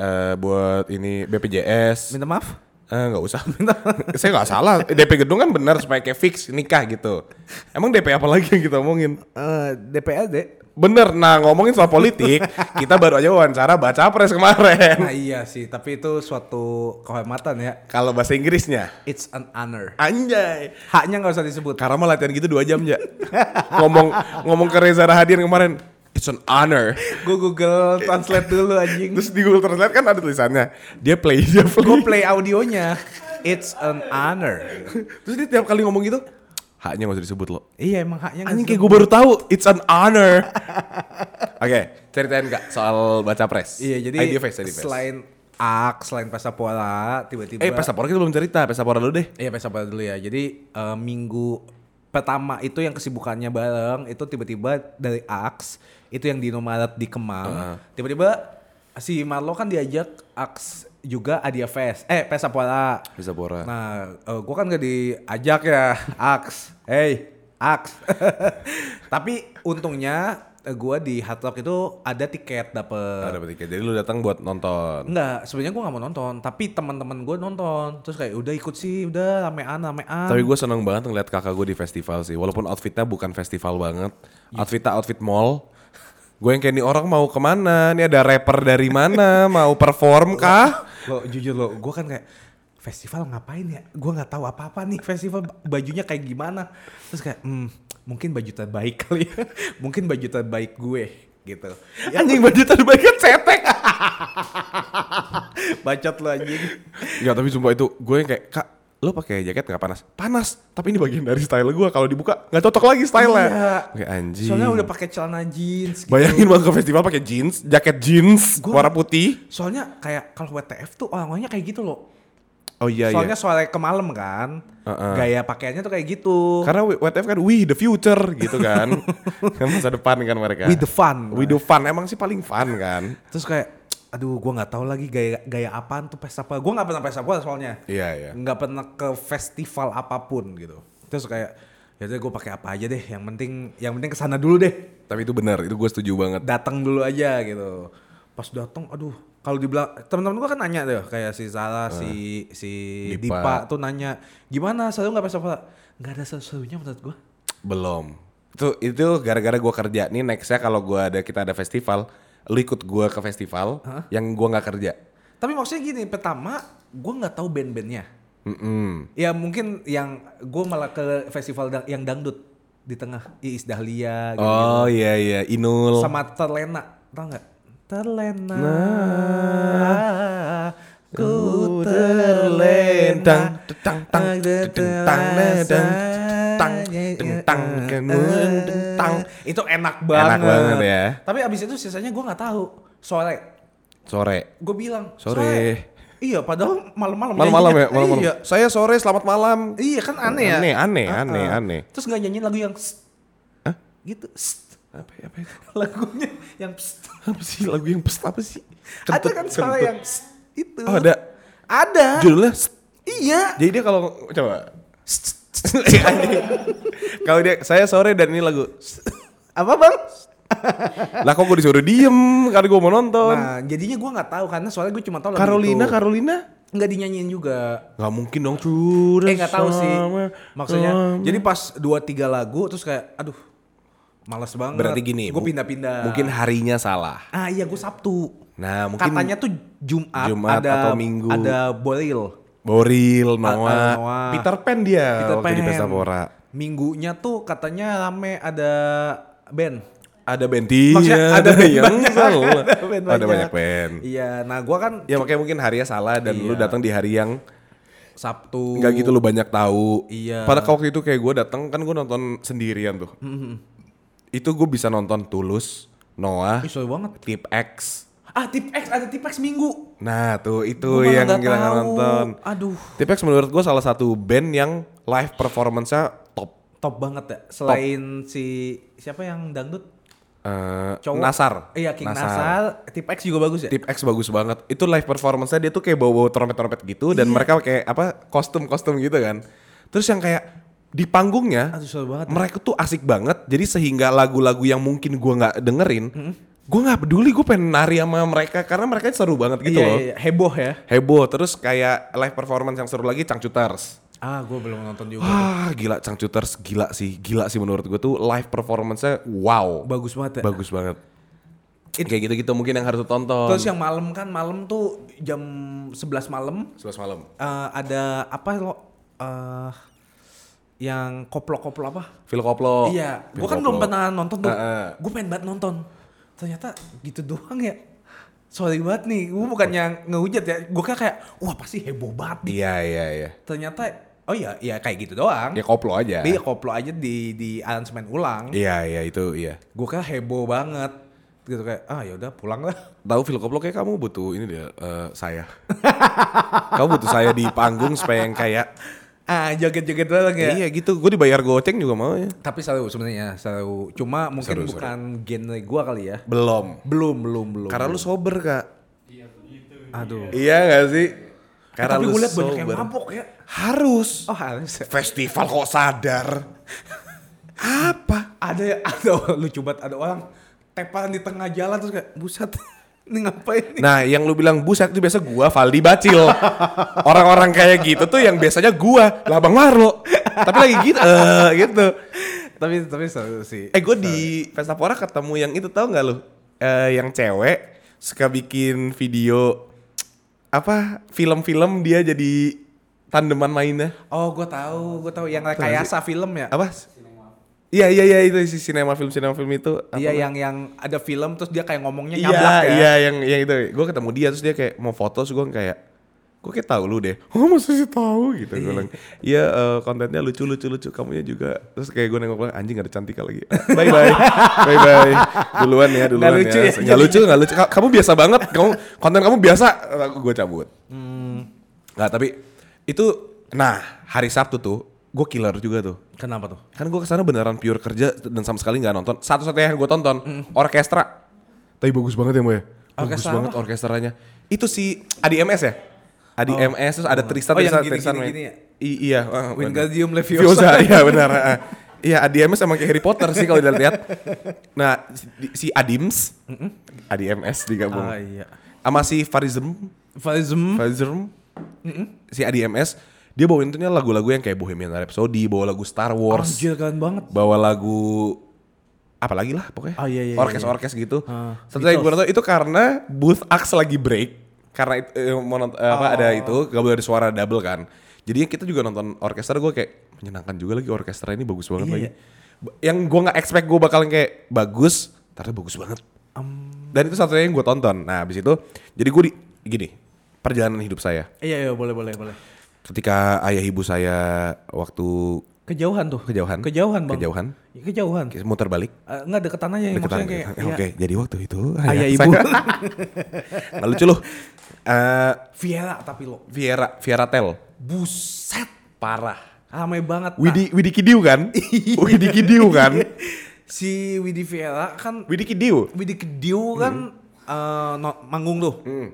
eh, buat ini BPJS.
minta maaf
Eh nggak usah. [laughs] Saya nggak salah. DP gedung kan benar supaya kayak fix nikah gitu. Emang DP apa lagi yang kita omongin?
Eh, DPLD
Bener, nah ngomongin soal politik, kita baru aja wawancara baca pres kemarin.
nah iya sih tapi itu suatu kehormatan ya
Kalau bahasa Inggrisnya,
it's an honor
anjay.
haknya nggak usah disebut
Karena mah latihan gitu dua jam ya. ngomong ngomong ke Reza Rahadian kemarin, it's an honor.
gue Google translate dulu anjing
Terus di Google Translate kan ada tulisannya, dia play, dia play.
gue play audionya it's an honor
Terus dia tiap kali ngomong gitu, haknya gak usah disebut loh.
iya emang haknya nggak
Anjing
sih?
kayak gue baru tahu, it's an honor. Oke, ceritain gak soal baca pres?
iya jadi
Idea face, idea face.
selain ak selain Persepora tiba-tiba
Eh, Persapora kita belum cerita, Persapora dulu deh.
Iya Persepora dulu ya. Jadi eh, minggu pertama itu yang kesibukannya bareng itu tiba-tiba dari Aks itu yang di Indomaret di Kemang. Tiba-tiba si Marlo kan diajak Aks juga Adia Fest. Eh Persepora.
Persapora.
Nah, eh, gua kan gak diajak ya [laughs] Aks. Hey, Aks. [laughs] Tapi untungnya eh, gua di Hard Rock itu ada tiket dapet.
Ada tiket. Jadi lu datang buat nonton.
Enggak, sebenarnya gue gak mau nonton, tapi teman-teman gue nonton. Terus kayak udah ikut sih, udah ramean ramean.
Tapi gue seneng banget ngeliat kakak gue di festival sih. Walaupun outfitnya bukan festival banget. Outfitnya outfit mall. Gue yang kayak nih orang mau kemana? Ini ada rapper dari [laughs] mana? mau perform kah?
Lo jujur lo, gue kan kayak festival ngapain ya? Gue nggak tahu apa-apa nih festival bajunya kayak gimana. Terus kayak hmm, mungkin baju terbaik kali, ya. [laughs] mungkin baju terbaik gue gitu. Ya,
Anjing baju terbaik kan cetek.
[laughs] bacot lo anjing.
ya tapi sumpah itu gue yang kayak kak lo pakai jaket nggak panas? Panas. Tapi ini bagian dari style gue. Kalau dibuka nggak cocok lagi stylenya.
Iya.
Kayak anjing.
Soalnya udah pakai celana jeans. Gitu.
Bayangin bang ke festival pakai jeans, jaket jeans,
Gua-
warna putih.
Soalnya kayak kalau WTF tuh orang-orangnya kayak gitu loh.
Oh iya
Soalnya
iya.
sore ke malam kan,
Uh-uh.
gaya pakaiannya tuh kayak gitu.
Karena WTF kan we the future gitu [laughs] kan. kan masa depan kan mereka.
With the fun.
We do fun emang sih paling fun kan.
Terus kayak aduh gua nggak tahu lagi gaya gaya apaan tuh pesta apa. Gua nggak pernah pesta apa soalnya.
Iya iya.
Nggak pernah ke festival apapun gitu. Terus kayak ya udah gua pakai apa aja deh. Yang penting yang penting kesana dulu deh.
Tapi itu benar, itu gue setuju banget.
Datang dulu aja gitu. Pas datang aduh kalau dibilang teman-teman gua kan nanya tuh kayak si Zara, si si
Eh, Dipa.
Dipa. tuh nanya gimana seru nggak pesta apa? Nggak ada seru-serunya menurut gua.
Belum. Itu itu gara-gara gue kerja nih nextnya kalau gue ada kita ada festival, lu ikut gue ke festival yang gue nggak kerja.
Tapi maksudnya gini, pertama gua nggak tahu band-bandnya.
Mm-mm.
Ya mungkin yang gue malah ke festival dang- yang dangdut di tengah Iis Dahlia gitu,
Oh iya iya, Inul.
sama Terlena, tau nggak? Terlena,
Nah,
ku terlena,
Terlentang, tetang, tang, tetang, tetang, tetang, tetang, kenun, tetang.
ya, itu enak banget.
banget ya.
Tapi abis itu sisanya gue nggak tahu. Soalnya
Sore.
gue bilang
Sore.
Iya, padahal malam-malam.
Malam-malam ya,
nyanyinya.
malam-malam.
Iya,
Saya sore, selamat malam.
Iya kan aneh ya.
Aneh, aneh,
Ah,
aneh,
ah.
aneh.
Terus nggak nyanyiin lagu yang sst. Gitu. sst.
Apa, ya, apa itu?
[laughs] Lagunya yang pst.
[laughs] Apa sih lagu yang pes apa sih?
Ada
Kentut,
kan suara
kentut.
yang pst itu.
Oh, ada.
Ada.
Judulnya s-
Iya.
Jadi dia kalau [laughs] coba Eh, anjing. kalau dia saya sore dan ini lagu.
Apa bang?
Lah kok gue disuruh diem karena gue mau nonton.
Nah gitu. jadinya gue nggak tahu karena soalnya gue cuma tahu lagu
Carolina,
itu.
Carolina, Carolina.
nggak dinyanyiin juga.
Gak mungkin dong True.
Eh nggak tahu sih. Maksudnya jadi pas dua tiga lagu terus kayak aduh Males banget.
Berarti gini,
gue
mu-
pindah-pindah.
Mungkin harinya salah.
ah iya gue Sabtu.
Nah, mungkin
katanya tuh Jumat,
Jumat
ada
atau Minggu.
ada Boril.
Boril, Noah,
Ah, Noah.
Peter Pan dia
Peter
waktu di
Pan.
Pesta Pora.
Minggunya tuh katanya rame ada band.
Ada bentinya,
Maksudnya ada band banyak, [laughs]
salah.
ada band
Ada banyak
banyak.
band.
Iya, nah gua kan
Ya makanya mungkin harinya salah dan lu
Iya.
datang di hari yang
Sabtu.
nggak gitu lu banyak tahu.
Iya.
Pada waktu itu kayak gue datang kan gue nonton sendirian tuh.
Mm-hmm.
Itu gue bisa nonton Tulus, Noah,
Ih, sorry banget.
Tip X.
Ah, tip X ada tip X Minggu.
Nah tuh
Gua
itu
malah
yang
nggak
kita nggak
tahu.
nonton.
Aduh,
Tip X menurut gue salah satu band yang live performance-nya top.
top banget ya. Selain si siapa yang dangdut?
Eh,
Cowok.
Nasar.
Iya, King Nasar. Tip X juga bagus ya?
Tip X bagus banget. Itu live performance-nya dia tuh kayak bawa-bawa trompet-trompet gitu
Iya.
dan mereka kayak apa kostum-kostum gitu kan. Terus yang kayak di panggungnya
Aduh, seru banget.
mereka tuh asik banget. Jadi sehingga lagu-lagu yang mungkin gua nggak dengerin, gua nggak peduli gue pengen nari sama mereka karena mereka seru banget gitu
iya,
loh.
iya, heboh ya.
Heboh terus kayak live performance yang seru lagi Cangcuters.
Ah, gue belum nonton juga.
Wah, gila Cangcuters gila sih. Gila sih menurut gue tuh live performance-nya wow.
bagus banget ya.
Bagus banget. Kayak gitu-gitu mungkin yang harus lu tonton.
Terus yang malam kan malam tuh jam 11 malam
11 malam.
eh, ada apa lo eh, yang koplo-koplo apa?
Phil Koplo.
iya,
Phil
gue kan belum
Koplo.
pernah nonton tuh.
Heeh.
Gue pengen banget nonton. Ternyata gitu doang ya. Sorry banget nih, gue bukannya ngehujat ya. Gue kayak, wah pasti heboh banget nih.
Iya iya iya.
Ternyata, oh iya, iya kayak gitu doang.
Ya koplo aja.
Tapi ya koplo aja di di aransemen ulang.
Iya iya itu iya.
Gue kayak heboh banget. Gitu kayak, ah yaudah pulang lah. [laughs]
Tahu Phil Koplo kayak kamu butuh ini dia eh, [laughs] saya. kamu butuh saya di panggung supaya yang kayak
Ah joget-joget doang ya.
iya gitu. Gue dibayar goceng juga mau ya.
Tapi seru sebenarnya, seru. Cuma mungkin
Seru, seru.
bukan genre gua kali ya.
Belum.
Belum, belum, belum.
Karena lu sober kak.
aduh.
Iya gak sih? Karena
Eh, Tapi
lu
gue liat
sober.
banyak yang mabok ya.
Harus.
Oh, harus. ya.
Festival kok sadar. Apa?
Ada ya, [laughs] ada orang- lucu banget ada orang teparan di tengah jalan terus kayak buset. [laughs] Ini ngapain nih?
Nah, yang lu bilang buset itu biasa gua Valdi Bacil.
[laughs]
Orang-orang kayak gitu tuh yang biasanya gua, lah Bang Marlo. Tapi lagi gitu, eh, gitu.
tapi tapi seru sih.
Eh, gua di Pestapora ketemu yang itu tahu nggak lu? Eh, yang cewek suka bikin video apa film-film dia jadi tandeman mainnya.
Oh, gua tahu, gua tahu yang rekayasa film ya.
Apa? Iya iya iya itu si sinema film sinema film itu.
Dia
apa?
Iya, yang yang ada film terus dia kayak ngomongnya
Iya,
nyablak ya.
iya yang yang itu. Gue ketemu dia terus dia kayak mau foto, terus gue kayak gue kayak tahu lu deh. Oh masa sih tahu gitu gue bilang. Iya eh, kontennya lucu lucu lucu, kamunya juga. Terus kayak gue nengok bilang anjing gak ada cantika lagi. [laughs] Bye bye, bye bye. Duluan ya, duluan
Nggak lucu
ya.
ya,
Nggak lucu, nggak lucu. Ka- Kamu biasa banget. Kamu konten kamu biasa. Gue cabut.
Hmm.
Nggak tapi itu. Nah hari Sabtu tuh gue killer juga tuh.
Kenapa tuh?
Kan gue kesana beneran pure kerja dan sama sekali nggak nonton. Satu-satunya yang gue tonton orkestra. Tapi bagus banget ya Mbak ya. Bagus
Orkestra
banget
apa?
orkestranya. Itu si Adi MS ya. Adi
Oh.
MS terus ada
Oh.
Tristan
Oh, yang
Tristan,
gini,
Tristan,
gini,
May.
gini ya?
I- iya. ah, bener.
Wingardium Leviosa.
Leviosa. [laughs] iya benar. ah. Iya Adi MS emang kayak Harry Potter sih kalau dilihat. Nah si, si Adims, Adi MS digabung.
Ah, iya.
Sama si Farizm,
Fazm.
Pfizer si ADMS dia bawain intinya lagu-lagu yang kayak Bohemian Rhapsody, bawa lagu Star Wars,
Anjir keren banget.
bawa lagu apa lagi lah pokoknya.
Ah, iya, iya,
Orkes-orkes gitu.
Ah,
Satu lagi
Beatles.
gue nonton itu karena Booth Axe lagi break karena itu, eh, mau nont- eh, apa
Oh.
ada itu gak boleh ada suara double kan. Jadi kita juga nonton orkestra gue kayak menyenangkan juga lagi orkestra ini bagus banget
Iya,
lagi.
iya.
Ba- Yang gue nggak expect gue bakalan kayak bagus, ternyata bagus banget. Dan itu satunya yang gue tonton. Nah abis itu jadi gue di gini perjalanan hidup saya
Iya, iya boleh boleh boleh.
ketika ayah ibu saya waktu
Kejauhan tuh.
Kejauhan.
Kejauhan, Bang.
Kejauhan.
Ya, Kejauhan.
muter balik
Eh, Enggak deketan aja yang
deketan
maksudnya kayak
gitu.
ya,
Oke, jadi waktu itu [laughs]
Ayah
saya-
ibu. [laughs]
Nggak lucu loh. Eh,
Viera tapi lo
Viera Viera Tel
buset
parah.
ramai banget. Nah,
Widi Widi Kidiu kan?
Iya.
Widi Kidiu kan?
si Widi Viera kan
Widi Kidiu.
Widi Kediu kan eh, no- manggung tuh.
Hmm.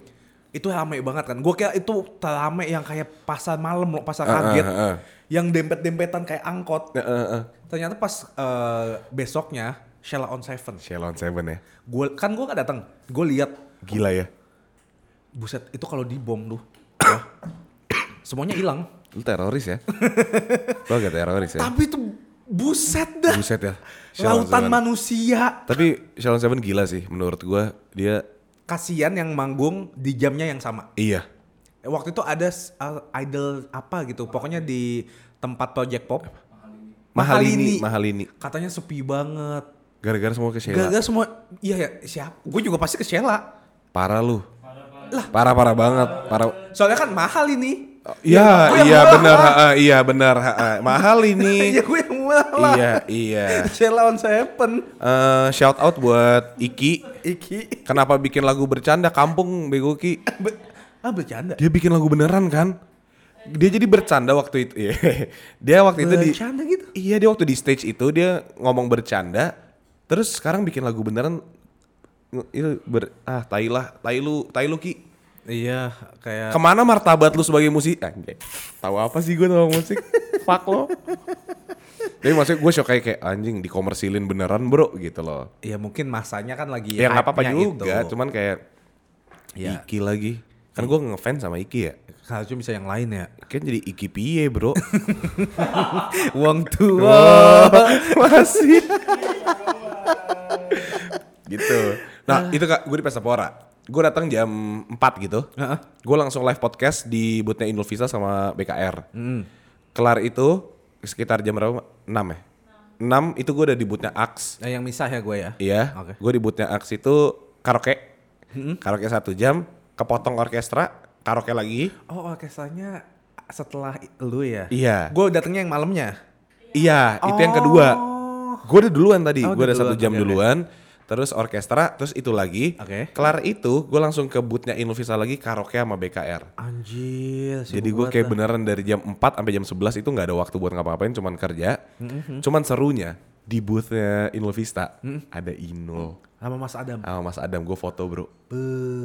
Itu ramai banget kan. Gue kira itu ramai yang kayak pasar malam lo pasar
Ah, ah,
kaget.
ah, ah.
Yang dempet-dempetan kayak angkot.
Eh, eh, eh.
Ternyata pas eh, besoknya Sheila on Seven.
Shalom Seven ya.
Gua kan gue gak datang. Gue lihat
Gila ya.
buset itu kalau dibom tuh.
Iya.
Wah. Semuanya hilang.
Lu teroris ya? Lu agak teroris ya?
Tapi itu Buset dah.
Buset ya. Shalom
Lautan
Seven.
manusia.
Tapi Shalom Seven gila sih menurut gua dia
Kasian yang manggung di jamnya yang sama.
iya.
Eh, Waktu itu ada s- uh, idol apa gitu. Pokoknya di tempat project pop.
Mahalini, Mahalini.
Katanya sepi banget.
Gara-gara semua ke Sheila.
Gagal semua. Iya ya, siap. Gue juga pasti ke Sheila.
Parah lu. Parah-parah banget. Parah.
Soalnya kan mahal ini.
Iya,
Gua yang
iya
murah.
benar, ha-ha, iya benar, ha-ha. mahal
[laughs] Iya
ini.
gue yang murah.
iya, iya.
Sheila on Seven.
Eh, shout out buat Iki.
Iki.
Kenapa bikin lagu bercanda kampung bego Ki?
Be- ah bercanda.
Dia bikin lagu beneran kan? Dia jadi bercanda waktu itu. Iya. [laughs] dia waktu itu di
Bercanda gitu.
Iya, dia waktu di stage itu dia ngomong bercanda, terus sekarang bikin lagu beneran Nge- itu ber ah tai lah, tai lu, tai lu Ki.
Iya kayak.
Eh. Kemana martabat lu sebagai musik? Anjay. Tahu apa sih gue tentang musik? Fuck lo. Tapi maksudnya gue shock kayak, kayak anjing dikomersilin beneran bro gitu loh.
Ya mungkin masanya kan lagi
Ya nggak apa-apa
hype-nya
juga,
itu.
cuman kayak
Ya.
Iki lagi. Kan gue ngefans sama Iki ya.
Harusnya bisa yang lain ya.
Kan jadi Iki piye bro? [laughs]
Wong tua.
Masih. gitu. Nah itu kak, gue di Pestapora. Gue datang jam 4 gitu.
Heeh.
Gue langsung live podcast di bootnya Indovisa sama BKR. Kelar itu sekitar jam berapa? 6 ya? 6 itu gue udah di bootnya Aks.
Nah, yang misah ya gue ya.
Iya.
Oke. Hmm?
Gue di bootnya Aks itu karaoke. Karaoke satu jam. Kepotong orkestra. Karaoke lagi.
Oh, orkestranya setelah i- lu ya.
Iya.
Gue datangnya yang malamnya.
Iya, itu yang kedua. Gue udah duluan tadi,
Oh,
gue
udah
udah satu
duluan,
jam
oke, oke.
duluan. Terus orkestra, terus itu lagi.
Oke.
Kelar itu, gue langsung ke bootnya Invisa lagi karaoke sama BKR.
Anjir. sibuk
Jadi gue
banget
kayak
lah.
beneran dari jam 4 sampai jam 11 itu nggak ada waktu buat ngapa-ngapain, cuman kerja.
Hmm,
Cuman serunya di boothnya Inul Vista
Hmm.
ada Inul
sama Mas Adam.
sama Mas Adam gue foto bro.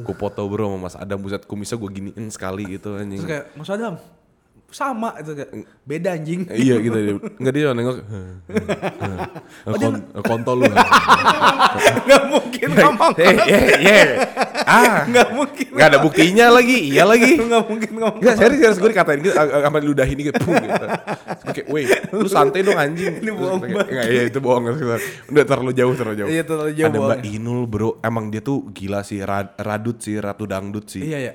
Gue foto bro sama Mas Adam buset kumisnya gue giniin sekali gitu anjing.
Terus kayak Mas Adam sama itu kayak beda anjing. [laughs]
iya gitu dia. Enggak dia cuma
Oh,
nengok. Kon- kontol lu.
Gak mungkin [laughs] ngomong.
Eh, eh, eh. Ah,
Gak mungkin. [laughs]
nggak ada buktinya lagi, iya lagi.
Gak mungkin ngomong.
Enggak, serius, serius gue dikatain gitu, ag- ag- sama ludah ini gitu, pum, gitu. Terus Oke, weh, lu santai dong anjing.
Ini bohong banget.
Enggak, iya itu bohong. Terus, Udah terlalu jauh, terlalu jauh.
Iya, terlalu jauh
Ada Mbak
bohongnya.
Inul, bro. Emang dia tuh gila sih, ra- radut sih, ratu dangdut sih.
Iya ya.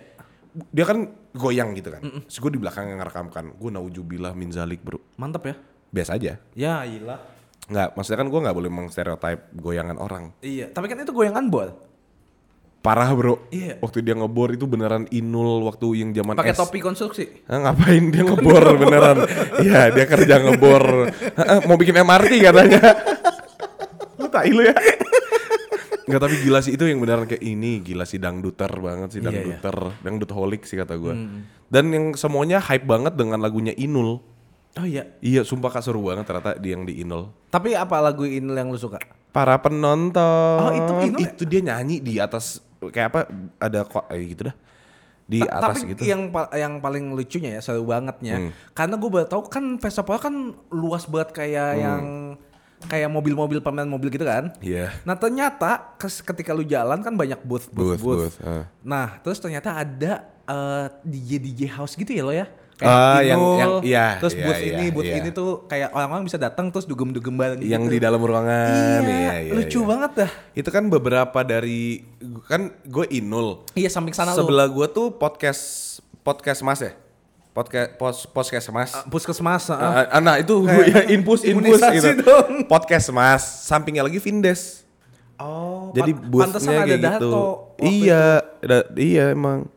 Dia kan goyang gitu kan. Terus gue di belakang ngerekam kan. Gue naujubillah min zalik, bro.
Mantap ya.
Biasa aja.
Ya iyalah.
Enggak, maksudnya kan gue nggak boleh mengstereotype goyangan orang.
Iya, tapi kan itu goyangan bol.
Parah bro,
Iya.
waktu dia ngebor itu beneran inul waktu yang zaman
Pakai
S.
topi konstruksi.
Hah, ngapain
[laughs]
dia ngebor beneran? Iya dia kerja ngebor. Hah, Mau bikin MRT katanya. [laughs] Lu tai lu ya. Enggak tapi gila sih itu yang beneran kayak ini gila sih dangduter banget sih
Iya, iya.
dangduter, dangdut holik sih kata gua. Dan yang semuanya hype banget dengan lagunya Inul.
Oh iya.
Iya sumpah kak seru banget ternyata dia yang di Inul.
Tapi apa lagu Inul yang lu suka?
Para penonton.
Oh, itu Inul ya?
Itu dia nyanyi di atas kayak apa ada kok eh, gitu dah. Di
Ta-
atas
tapi
gitu. Hmm.
yang pa- yang paling lucunya ya seru bangetnya karena gue baru tahu kan Vespa kan luas banget kayak
Hmm.
yang kayak mobil-mobil pameran mobil gitu kan
Iya.
nah ternyata kes- ketika lu jalan kan banyak booth booth
Booth,
booth,
booth, ah.
nah terus ternyata ada eh, DJ DJ house gitu ya lo ya
Ah, yang-
Inul,
yang- iya,
terus
iya,
booth
iya,
ini booth
iya.
ini tuh kayak orang-orang bisa datang terus dugem-dugem bareng
yang
gitu.
di dalam ruangan
iya, lucu banget dah
itu kan beberapa dari kan gue inul
iya samping sana lu
sebelah gue tuh podcast podcast mas ya podcast pos, podcast mas
puskesmas ah.
Ah, ah, nah itu ya, inpus inpus
imunisasi
gitu
dong.
podcast mas sampingnya lagi vindes
oh
jadi
pan- pantesan
boothnya
ada
kayak
Dato
gitu
waktu
iya da- iya emang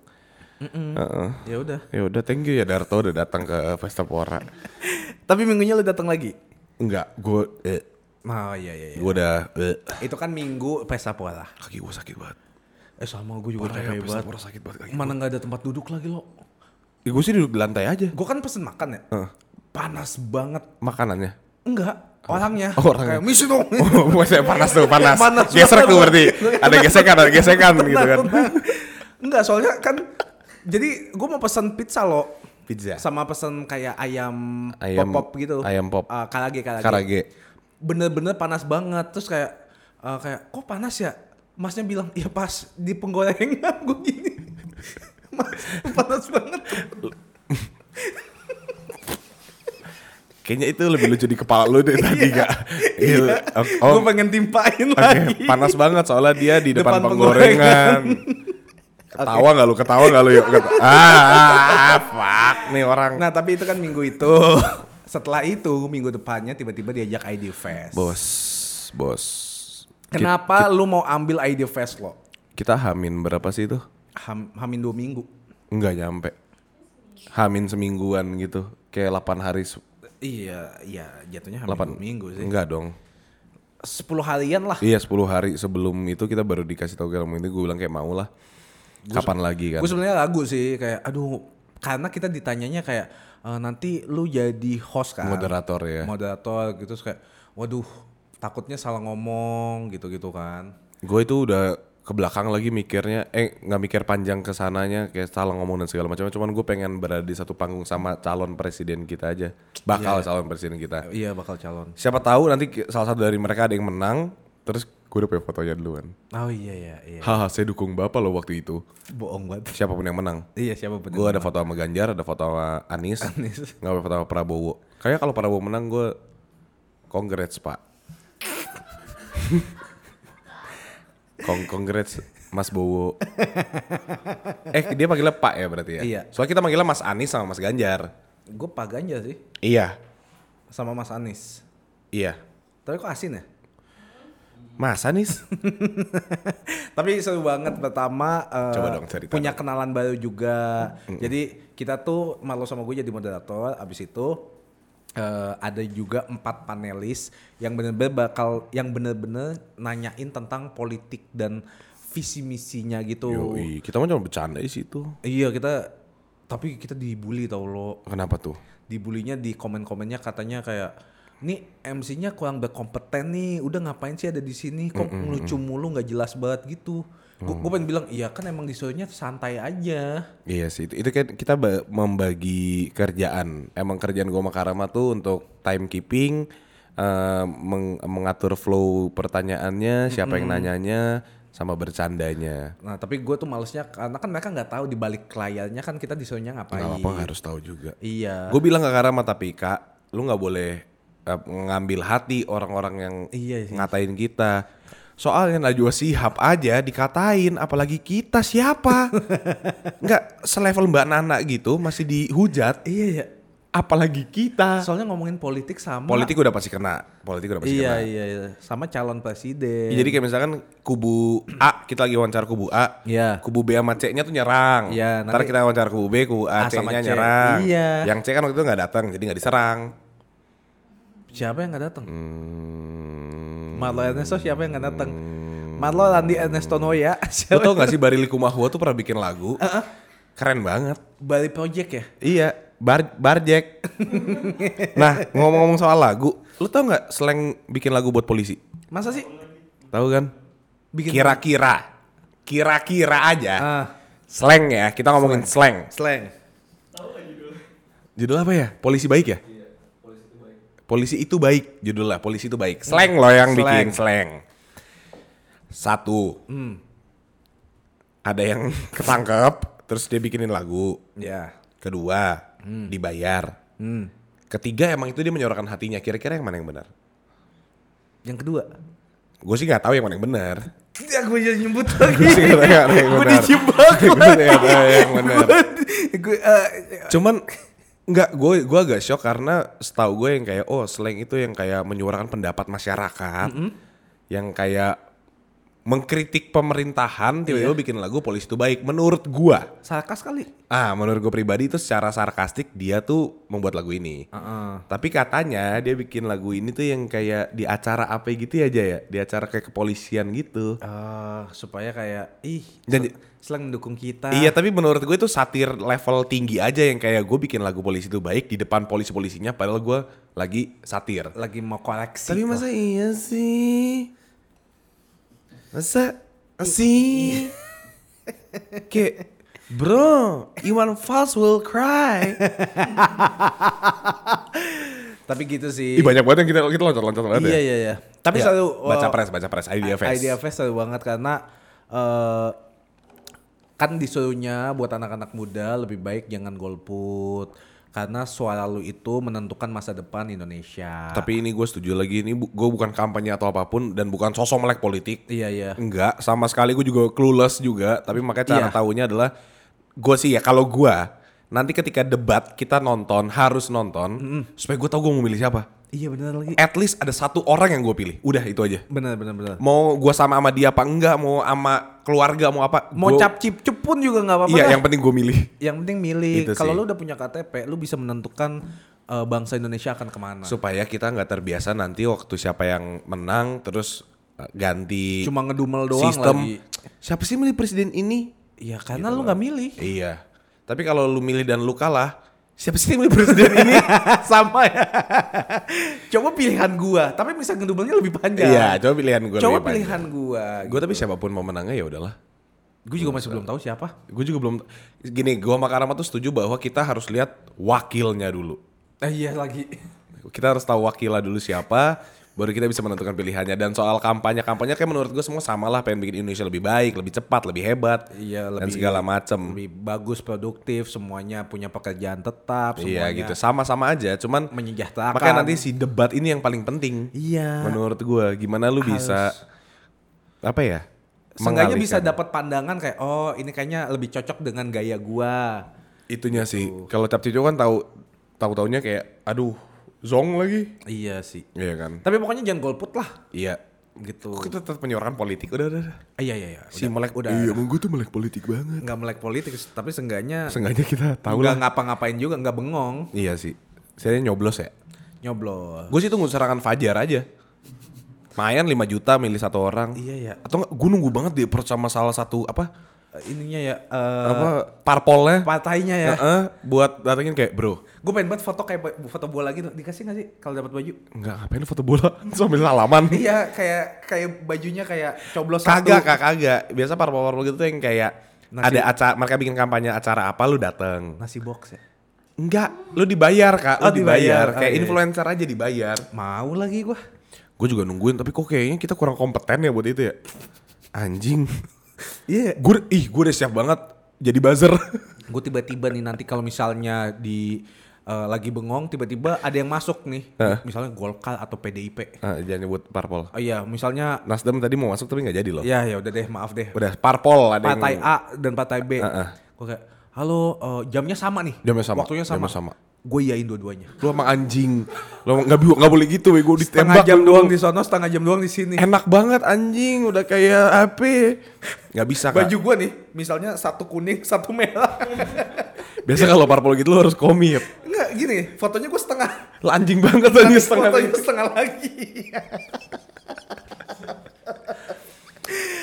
Heeh.
itu. ya udah
ya udah thank you ya Darto udah datang ke Pesta Pora
Tapi minggunya lu datang lagi.
enggak gue eh,
Nah, iya iya. iya.
gue udah eh,
Itu kan minggu pesta pola.
kaki gue sakit banget
Eh sama gue juga
Parah ya,
capek
pesta
banget. gitu.
pora sakit banget kaki
Mana nggak ada tempat duduk lagi lo.
gue Ya sih duduk di lantai aja
Gue kan pesen makan ya. Panas banget.
makanannya. [laughs]
Enggak. Orangnya.
Oh, [laughs] orangnya.
Kayak misi dong. [laughs]
Oh, maksudnya panas tuh, panas.
Panas banget,
Gesrek tuh
Bang.
berarti. Ada gesekan, ada gesekan gitu kan.
Enggak soalnya kan. Jadi gue mau pesen pizza lo.
Pizza.
Sama pesen kayak ayam,
Ya. Ayam-
pop pop gitu.
ayam pop.
Eh, karage karage.
Karage.
bener-bener panas banget terus kayak eh, kayak kok panas ya masnya bilang iya pas di [laughs] penggorengan gue gini mas panas banget
Kayaknya itu lebih lucu di kepala
[laughs]
lu deh tadi
Iya.
gak? Gitu.
Gue pengen timpain
Oke,
lagi.
panas banget soalnya dia di
Depan
depan, penggorengan.
penggorengan.
Ketawa nggak lu? Ketawa nggak lu? Yuk, Ket- ah, ah, fuck nih orang.
Nah tapi itu kan minggu itu. Setelah itu minggu depannya tiba-tiba diajak ID Fest.
Bos, bos.
Kenapa lu mau ambil ID Fest lo?
Kita hamin berapa sih itu?
Ham, hamin dua minggu.
Nggak nyampe. Hamin semingguan gitu. Kayak 8 hari, se-
Iya, iya jatuhnya hamin
8
dua minggu sih.
Enggak dong.
Sepuluh harian lah.
Iya 10 hari sebelum itu kita baru dikasih tahu kayak itu gue bilang kayak mau lah. Kapan lagi kan?
Gue sebenarnya ragu sih kayak aduh karena kita ditanyanya kayak e, nanti lu jadi host kan.
Moderator ya.
Moderator gitu terus kayak waduh takutnya salah ngomong gitu-gitu kan.
Gue itu udah ke belakang lagi mikirnya, eh nggak mikir panjang ke sananya kayak salah ngomong dan segala macam. Cuman gue pengen berada di satu panggung sama calon presiden kita aja, bakal calon presiden kita.
Iya bakal calon.
Siapa tahu nanti ki- salah satu dari mereka ada yang menang, terus gue udah punya fotonya duluan.
Oh iya iya iya.
Haha, saya dukung bapak loh waktu itu.
Bohong banget.
Siapapun yang menang.
Iya siapa bener.
Gue ada foto sama Ganjar, ada foto sama Anies,
Anies.
[laughs] nggak ada foto sama Prabowo. Kayaknya kalau Prabowo menang gue congrats [laughs] pak. Kong congrats Mas Bowo. eh dia panggilnya Pak ya berarti ya?
Iya.
Soalnya kita manggilnya Mas Anies sama Mas Ganjar.
Gue Pak Ganjar sih
Iya.
sama Mas Anies.
Iya.
Tapi kok asin ya?
Mas Anies?
Tapi seru banget pertama eh,
Coba dong cerita
punya kenalan baru juga. Jadi kita tuh Marlo sama gue jadi moderator. Abis itu eh, ada juga empat panelis yang bener-bener bakal yang bener-bener nanyain tentang politik dan visi misinya gitu.
Yoi, kita mah cuma bercanda di situ.
Iya kita tapi kita dibully tau lo.
Kenapa tuh?
dibulinya di komen-komennya katanya kayak nih MC-nya kurang berkompeten nih udah ngapain sih ada di sini kok lucu mulu nggak jelas banget gitu Gu-
Oh.
gue pengen bilang iya kan emang di show-nya santai aja
Iya sih, itu, itu kan kita ba- membagi kerjaan. Emang kerjaan gua sama Karama tuh untuk timekeeping, eh, meng- mengatur flow pertanyaannya, siapa yang nanyanya, sama bercandanya.
nah tapi gue tuh malesnya karena kan mereka nggak tahu di balik layarnya kan kita di show-nya ngapain
Gak apa-apa harus tahu juga.
iya
Gue bilang ke Karama tapi kak, lu nggak boleh eh, ngambil hati orang-orang yang
Iya sih.
ngatain kita. Soalnya Najwa Sihab aja dikatain, apalagi kita
[laughs]
siapa? Nggak selevel Mbak Nana gitu masih dihujat,
iya iya
apalagi kita.
soalnya ngomongin politik sama
Politik udah pasti kena. Politik udah pasti
iya
kena.
iya iya. sama calon presiden
Jadi kayak misalkan kubu A, kita lagi wawancara kubu A.
Iya.
Kubu B sama C-nya tuh nyerang.
Iya,
Ntar
nanti-
kita wawancara kubu B, kubu
A
A,
sama
C-nya
C.
nyerang.
Iya.
Yang C kan waktu itu nggak datang, jadi nggak diserang.
siapa yang nggak datang
Hmm.
Marlo Ernesto siapa yang nggak datang Marlo Randy Ernesto Noya [laughs]
Lo
siapa
tau gak sih Barili Kumahua tuh pernah bikin lagu? Keren banget.
Bali Project ya
Iya, bar barjek. nah, ngomong-ngomong soal lagu, lu tau nggak slang bikin lagu buat polisi?
Masa sih?
Tahu kan?
Bikin
Kira-kira. Kira-kira aja.
Ah.
Slang ya, kita ngomongin slang.
slang.
Judul apa ya? Polisi baik ya? Polisi itu baik. Judul lah, polisi itu baik. Slang loh yang
Iya. Slang.
bikin slang. Satu.
Hmm.
Ada yang [laughs] ketangkep, terus dia bikinin lagu.
Ya.
Kedua, dibayar. Ketiga emang itu dia menyuarakan hatinya. Kira-kira yang mana yang benar?
Yang kedua.
Gue sih nggak tahu yang mana yang benar.
Ya gue jadi [laughs] nyebut lagi.
Gue sih nggak tahu yang mana yang
gue
benar.
dijebak
Gue
lagi.
nggak tahu yang benar.
Gue eh,
Cuman nggak gue gue agak shock karena setahu gue yang kayak oh slang itu yang kayak menyuarakan pendapat masyarakat, yang kayak mengkritik pemerintahan tiba-tiba bikin lagu polisi itu baik menurut gua
sarkas kali.
ah menurut gue pribadi itu secara sarkastik dia tuh membuat lagu ini
Heeh.
tapi katanya dia bikin lagu ini tuh yang kayak di acara apa gitu aja ya di acara kayak kepolisian gitu
Ah, supaya kayak ih
Dan-
se- slang mendukung kita.
Iya tapi menurut gue itu satir level tinggi aja yang kayak gue bikin lagu polisi itu baik di depan polisi-polisinya padahal gue lagi satir.
Lagi mau koleksi.
Tapi masa iya sih? Masa sih? kayak bro, Iwan Fals will cry.
[laughs] Tapi gitu sih.
Ih banyak banget yang kita kita loncat-loncat banget
Iya
ya.
iya iya. Tapi
Ya,
selalu
baca
eh,
pres baca pres idea fest.
Idea Fest seru banget karena eh, kan disuruhnya buat anak-anak muda lebih baik jangan golput, karena suara lu itu menentukan masa depan Indonesia.
Tapi ini gue setuju lagi ini bu- gue bukan kampanye atau apapun dan bukan sosok melek politik.
iya iya.
Enggak, sama sekali gue juga clueless juga. Tapi makanya cara
Iya.
taunya adalah gue sih ya kalau gue nanti ketika debat kita nonton harus nonton supaya gue tahu gue mau milih siapa.
Iya benar lagi.
At least ada satu orang yang gue pilih. Udah itu aja.
Benar benar benar.
Mau gue sama sama dia apa enggak, mau sama keluarga mau apa.
Mau
gua-
cap cip cip pun juga nggak apa-apa.
Iya,
dah.
yang penting gue milih.
Yang penting milih.
Itu sih.
Kalau lu udah punya KTP, lu bisa menentukan eh, bangsa Indonesia akan kemana.
Supaya kita nggak terbiasa nanti waktu siapa yang menang terus eh, ganti
Cuma ngedumel doang
sistem. Gitu
lagi.
Siapa sih milih presiden ini?
Iya karena lu nggak milih.
Iya. Tapi kalau lu milih dan lu
[laughs]
kalah, siapa sih yang milih presiden ini? Sama ya.
Coba pilihan gua, tapi bisa ngedumelnya lebih panjang.
Iya, coba pilihan gue.
Coba pilihan gua.
Gue tapi siapapun mau menangnya ya udahlah.
Gua juga masih belum tahu siapa.
Gue juga belum gini, gue sama Karama tuh setuju bahwa kita harus lihat wakilnya dulu.
Ah, iya lagi.
Kita harus tahu wakilnya dulu siapa, baru kita bisa menentukan pilihannya. Dan soal kampanye-kampanye kayak menurut gue semua samalah pengen bikin Indonesia lebih baik, lebih cepat, lebih hebat,
Iya,
dan
lebih-
segala macem.
Lebih bagus, produktif, semuanya punya pekerjaan tetap,
Iya
semuanya
gitu, sama-sama aja. Cuman
menyejahterakan.
Makanya nanti si debat ini yang paling penting.
Iya.
Menurut gua gimana lu bisa apa ya?
Seenggaknya
mengalihkan
bisa dapat pandangan kayak oh ini kayaknya lebih cocok dengan gaya gua.
itunya sih. Kalau Cap Cicu kan tahu tahu taunya kayak aduh, zong lagi.
Iya sih.
Iya kan?
Tapi pokoknya jangan golput lah
Iya.
gitu.
Kok kita tetap menyorkan politik udah udah. udah.
Ah, iya iya iya.
Si
Udah,
melek
udah
Iya, emang gua tuh melek politik banget.
nggak melek politik tapi seenggaknya
Sengaja kita tahu
nggak
lah.
ngapa-ngapain juga nggak bengong
Iya sih. Saya nyoblos ya.
nyoblos.
Gue sih tunggu serangan Fajar aja. Mayan 5 juta milih satu orang.
Iya, iya.
Atau gue nunggu banget di approach sama salah satu apa?
Eh, ininya ya eh,
apa parpolnya?
partainya ya.
Heeh, buat datengin kayak bro
Gue pengen banget foto kayak bo- foto bola gitu. Dikasih gak sih kalau dapat baju?
nggak ngapain lu foto bola [laughs] sambil salaman
[laughs] iya, kayak kayak bajunya kayak coblos satu.
kagak kagak kagak biasa parpol parpol gitu tuh yang kayak
Nasi-
ada acara mereka bikin kampanye acara apa lu dateng
Nasi box ya.
enggak lu dibayar kak
Oh, dibayar.
lu dibayar,
Oh,
kayak
iya.
influencer aja dibayar
Mau lagi gua.
gue juga nungguin tapi kok kayaknya kita kurang kompeten ya buat itu ya [laughs] anjing
Iya.
gue ih gue udah siap banget jadi buzzer
Gue tiba-tiba nih nanti kalau misalnya di eh, lagi bengong tiba-tiba ada yang masuk nih. Misalnya Golkar atau PDIP.
[laughs] Ah, jangan nyebut parpol Iya.
Oh iya, misalnya
Nasdem tadi mau masuk tapi nggak jadi loh
ya ya udah deh, maaf deh.
udah parpol ada
Partai
yang
A dan partai B.
Heeh.
Gua kayak, "Halo, eh, jamnya sama nih."
Jamnya sama,
Waktunya sama.
jamnya sama.
Gue iyain dua-duanya.
lu emang anjing lu emang nggak bi- nggak boleh gitu gue
Setengah
ditembak
jam
lu.
doang di sono, setengah jam doang di sini.
enak banget anjing udah kayak HP nggak bisa kak
baju gua nih misalnya satu kuning [laughs] satu merah
biasa kalau parpol gitu lo harus komik
nggak gini fotonya gua setengah
lo anjing banget tadi setengah
fotonya Iya, setengah lagi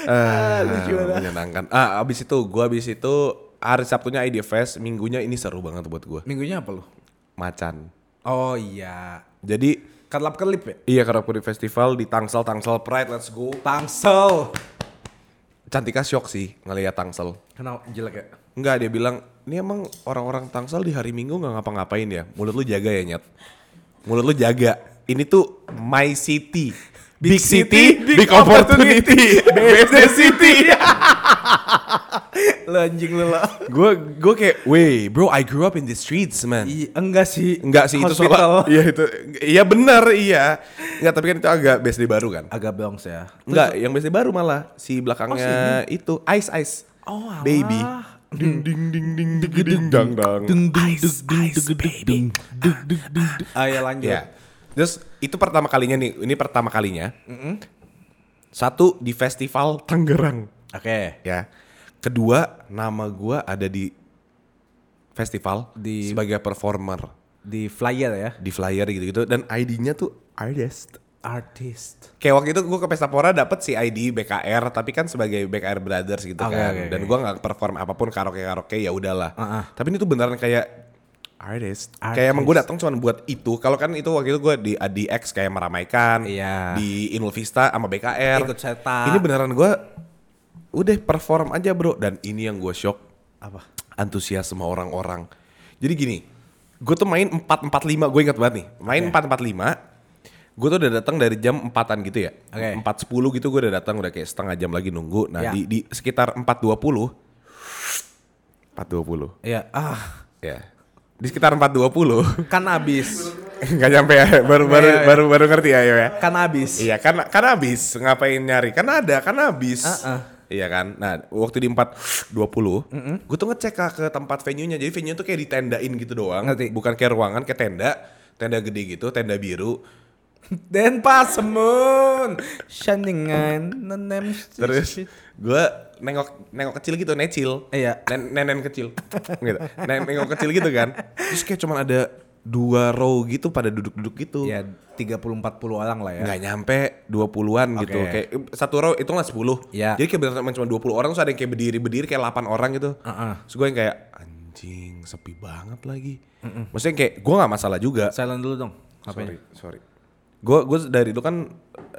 Ah,
lucu banget.
menyenangkan ah abis itu gue abis itu hari Sabtunya ID Fest minggunya ini seru banget buat gue
minggunya apa lu
macan
oh iya
jadi
kelap kelip ya
iya karena aku di festival di Tangsel Tangsel Pride let's go
tangsel
Cantika shock sih ngeliat Tangsel
kenal jelek ya
Enggak dia bilang ini emang orang-orang Tangsel di hari Minggu nggak ngapa-ngapain ya mulut lu jaga ya nyet mulut lu jaga ini tuh my city big, city, big, opportunity, [laughs] best the city
lu anjing lu lah
gue gue kayak weh bro I grew up in the streets man
Iya, enggak sih
Enggak sih itu
Hospital.
soalnya Iya itu Iya benar iya Enggak tapi kan itu agak BSD baru kan
agak brongs ya
Enggak yang BSD baru malah Si belakangnya itu Ice Ice
Oh, alah.
Baby Ding ding ding ding ding ding dang dang
ice ice baby ayo lanjut
Ya. Terus itu pertama kalinya nih, ini pertama kalinya. Satu di festival Tangerang,
oke
ya. Kedua, nama gua ada di festival
Di-
sebagai performer
di flyer ya
di flyer gitu-gitu dan ID-nya tuh artist.
artist
Kayak waktu itu gue ke Pestapora dapet si ID BKR tapi kan sebagai BKR Brothers gitu
Oke,
kan.
oke,
dan
oke.
gua nggak perform apapun karaoke-karaoke ya udahlah.
Ah, ah.
Tapi ini tuh beneran kayak artist.
Artist.
Kayak emang gue datang cuma buat itu. Kalau kan itu waktu itu gue di ADX kayak meramaikan
Iya.
di Inul Vista sama BKR.
Ikut cetak.
Ini beneran gue udah perform aja bro dan ini yang gue shock
apa
antusiasme orang-orang. Jadi gini, gue tuh main 445, gue ingat banget nih. Main 445, gue tuh udah datang dari jam 4-an gitu ya.
Oke.
4.10 gitu gue udah datang udah kayak setengah jam lagi nunggu. Nah,
Ya.
di, di sekitar 4.20 4.20.
ya ah
Ya. di sekitar 420
Kan abis.
[laughs] nggak nyampe ya baru baru
Iya, iya.
baru baru ngerti ya Yo, ya
Kan abis.
iya kan kan habis ngapain nyari kan ada kan habis
Ah, ah.
iya kan nah waktu di 420 gue tuh ngecek Kak, ke tempat venue nya jadi venue tuh kayak ditendain gitu doang
Ngerti.
bukan kayak ruangan kayak tenda tenda gede gitu tenda biru
Dan pasemun. Shandingan. Nenem.
terus gue nengok nengok kecil gitu necil
Iya.
Nen- nenen kecil gitu Nen- nengok kecil gitu kan terus kayak cuman ada dua row gitu pada duduk-duduk gitu
Ya 30-40 orang lah ya.
nggak nyampe 20-an gitu.
Oke.
Kayak eh, satu row itu nggak 10.
Iya.
Jadi kayak beneran cuma 20 orang terus ada yang kayak berdiri-berdiri kayak 8 orang gitu.
Heeh.
Terus gue yang kayak anjing sepi banget lagi. Maksudnya kayak gue nggak masalah juga.
Silent dulu dong. Hapenya.
Sorry, sorry. Gue gue dari dulu kan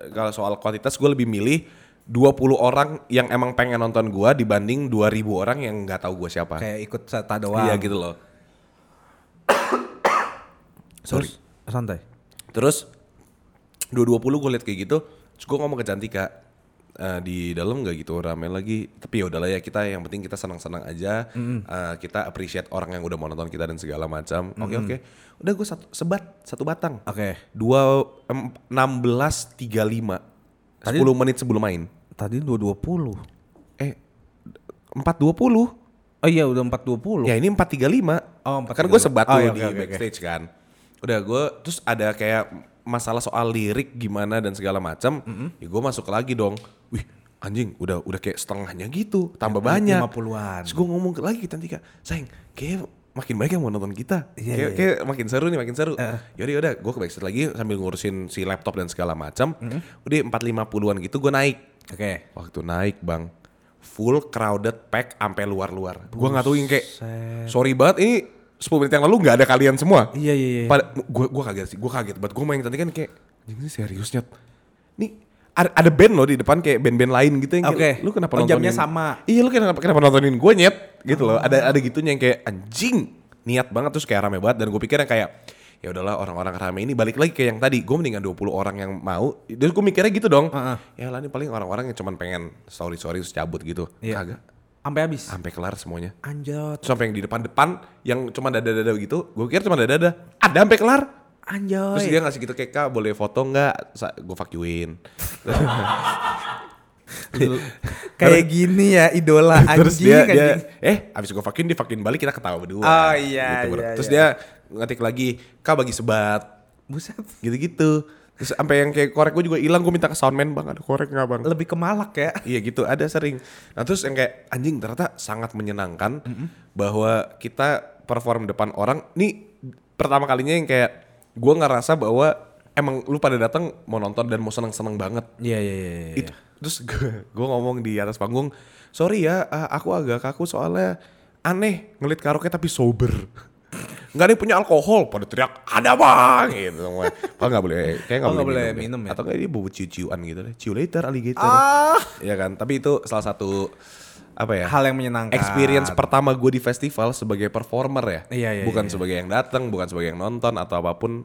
eh, kalau soal kuantitas gue lebih milih 20 orang yang emang pengen nonton gue dibanding 2000 orang yang nggak tahu gue siapa.
Kayak ikut serta doang.
Iya gitu loh. sorry.
Terus, santai.
Terus 220 gue liat kayak gitu, terus gue ngomong ke Cantika "Eh, di dalam nggak gitu rame lagi. Tapi ya udahlah ya kita yang penting kita senang-senang aja. Eh, kita appreciate orang yang udah mau nonton kita dan segala macam. Oke oke. Udah gue satu sebat satu batang.
Oke.
Dua em, 16.35
Tadi-
10 menit sebelum main.
Tadi 2.20.
Eh 4.20.
Oh iya udah 4.20.
Ya ini 435.
Oh,
Kan
435.
gue sebat
Oh,
tuh
iya,
di
oke, oke, oke.
backstage kan. Udah gue terus ada kayak masalah soal lirik gimana dan segala macam. Ya gue masuk lagi dong. Wih anjing udah udah kayak setengahnya gitu
Iya,
tambah banyak
50-an.
terus gue ngomong ke- lagi ke Tantika sayang kayak makin banyak yang mau nonton kita
Iya,
kayak,
iya.
kayak makin seru nih makin seru yaudah yaudah gue ke backstage lagi sambil ngurusin si laptop dan segala macam udah 450-an gitu gue naik
Oke.
Waktu naik bang, full crowded pack sampai luar-luar. Gue nggak tahu yang kayak, sorry banget ini 10 menit yang lalu nggak ada kalian semua.
Iya, iya, iya.
Pada, gua, gua kaget sih, gua kaget banget. Gua main tadi kan kayak, anjing ini seriusnya. Nih ada, ada band loh di depan kayak band-band lain gitu yang kayak,
Oke.
lu kenapa
Oh,
nontonin?
jamnya sama. Oh.
Iya lu kenapa, kenapa nontonin gue nyet gitu loh. Ada ada gitunya yang kayak anjing niat banget terus kayak rame banget dan gue pikirnya kayak ya udahlah orang-orang rame ini balik lagi kayak yang tadi gue mendingan 20 orang yang mau terus gue mikirnya gitu dong
Heeh.
ya lah ini paling orang-orang yang cuman pengen sorry sorry terus cabut gitu
Iya.
kagak
Sampai habis.
sampai kelar semuanya
Anjot.
terus sampai yang di depan-depan yang cuma dada-dada gitu gue kira cuma dada-dada ada sampai kelar terus dia
Anjoy.
ngasih gitu kayak kak boleh foto nggak gue fuck youin [laughs]
Kayak gini ya idola anjing
terus dia, dia
anjing.
eh abis gue fucking di fucking balik kita ketawa berdua
Oh, iya,
Gitu, bro.
iya,
terus
iya.
dia ngetik lagi kak bagi sebat
Buset.
gitu-gitu terus sampai yang kayak korek gue juga hilang gue minta ke soundman bang ada korek nggak bang
Lebih ke malak ya.
Iya gitu, ada sering. Nah terus yang kayak anjing ternyata sangat menyenangkan bahwa kita perform depan orang. Ini pertama kalinya yang kayak gue ngerasa bahwa emang lu pada datang mau nonton dan mau seneng-seneng banget.
Iya iya iya. iya.
Itu. Terus [laughs] gue ngomong di atas panggung, sorry ya, eh, aku agak kaku soalnya aneh ngelit karaoke tapi sober. [laughs] Nggak ada yang punya alkohol, pada teriak ada bang gitu semua. Padahal nggak boleh, kayak nggak
Oh, nggak
boleh,
boleh
deh.
minum ya?
Atau kayak dia bau ciu-ciuan gitu deh. Ciu later alligator.
Ah.
Iya kan, tapi itu salah satu apa ya?
Hal yang menyenangkan.
experience pertama gue di festival sebagai performer ya.
Iya, iya, iya.
bukan sebagai yang datang, bukan sebagai yang nonton atau apapun.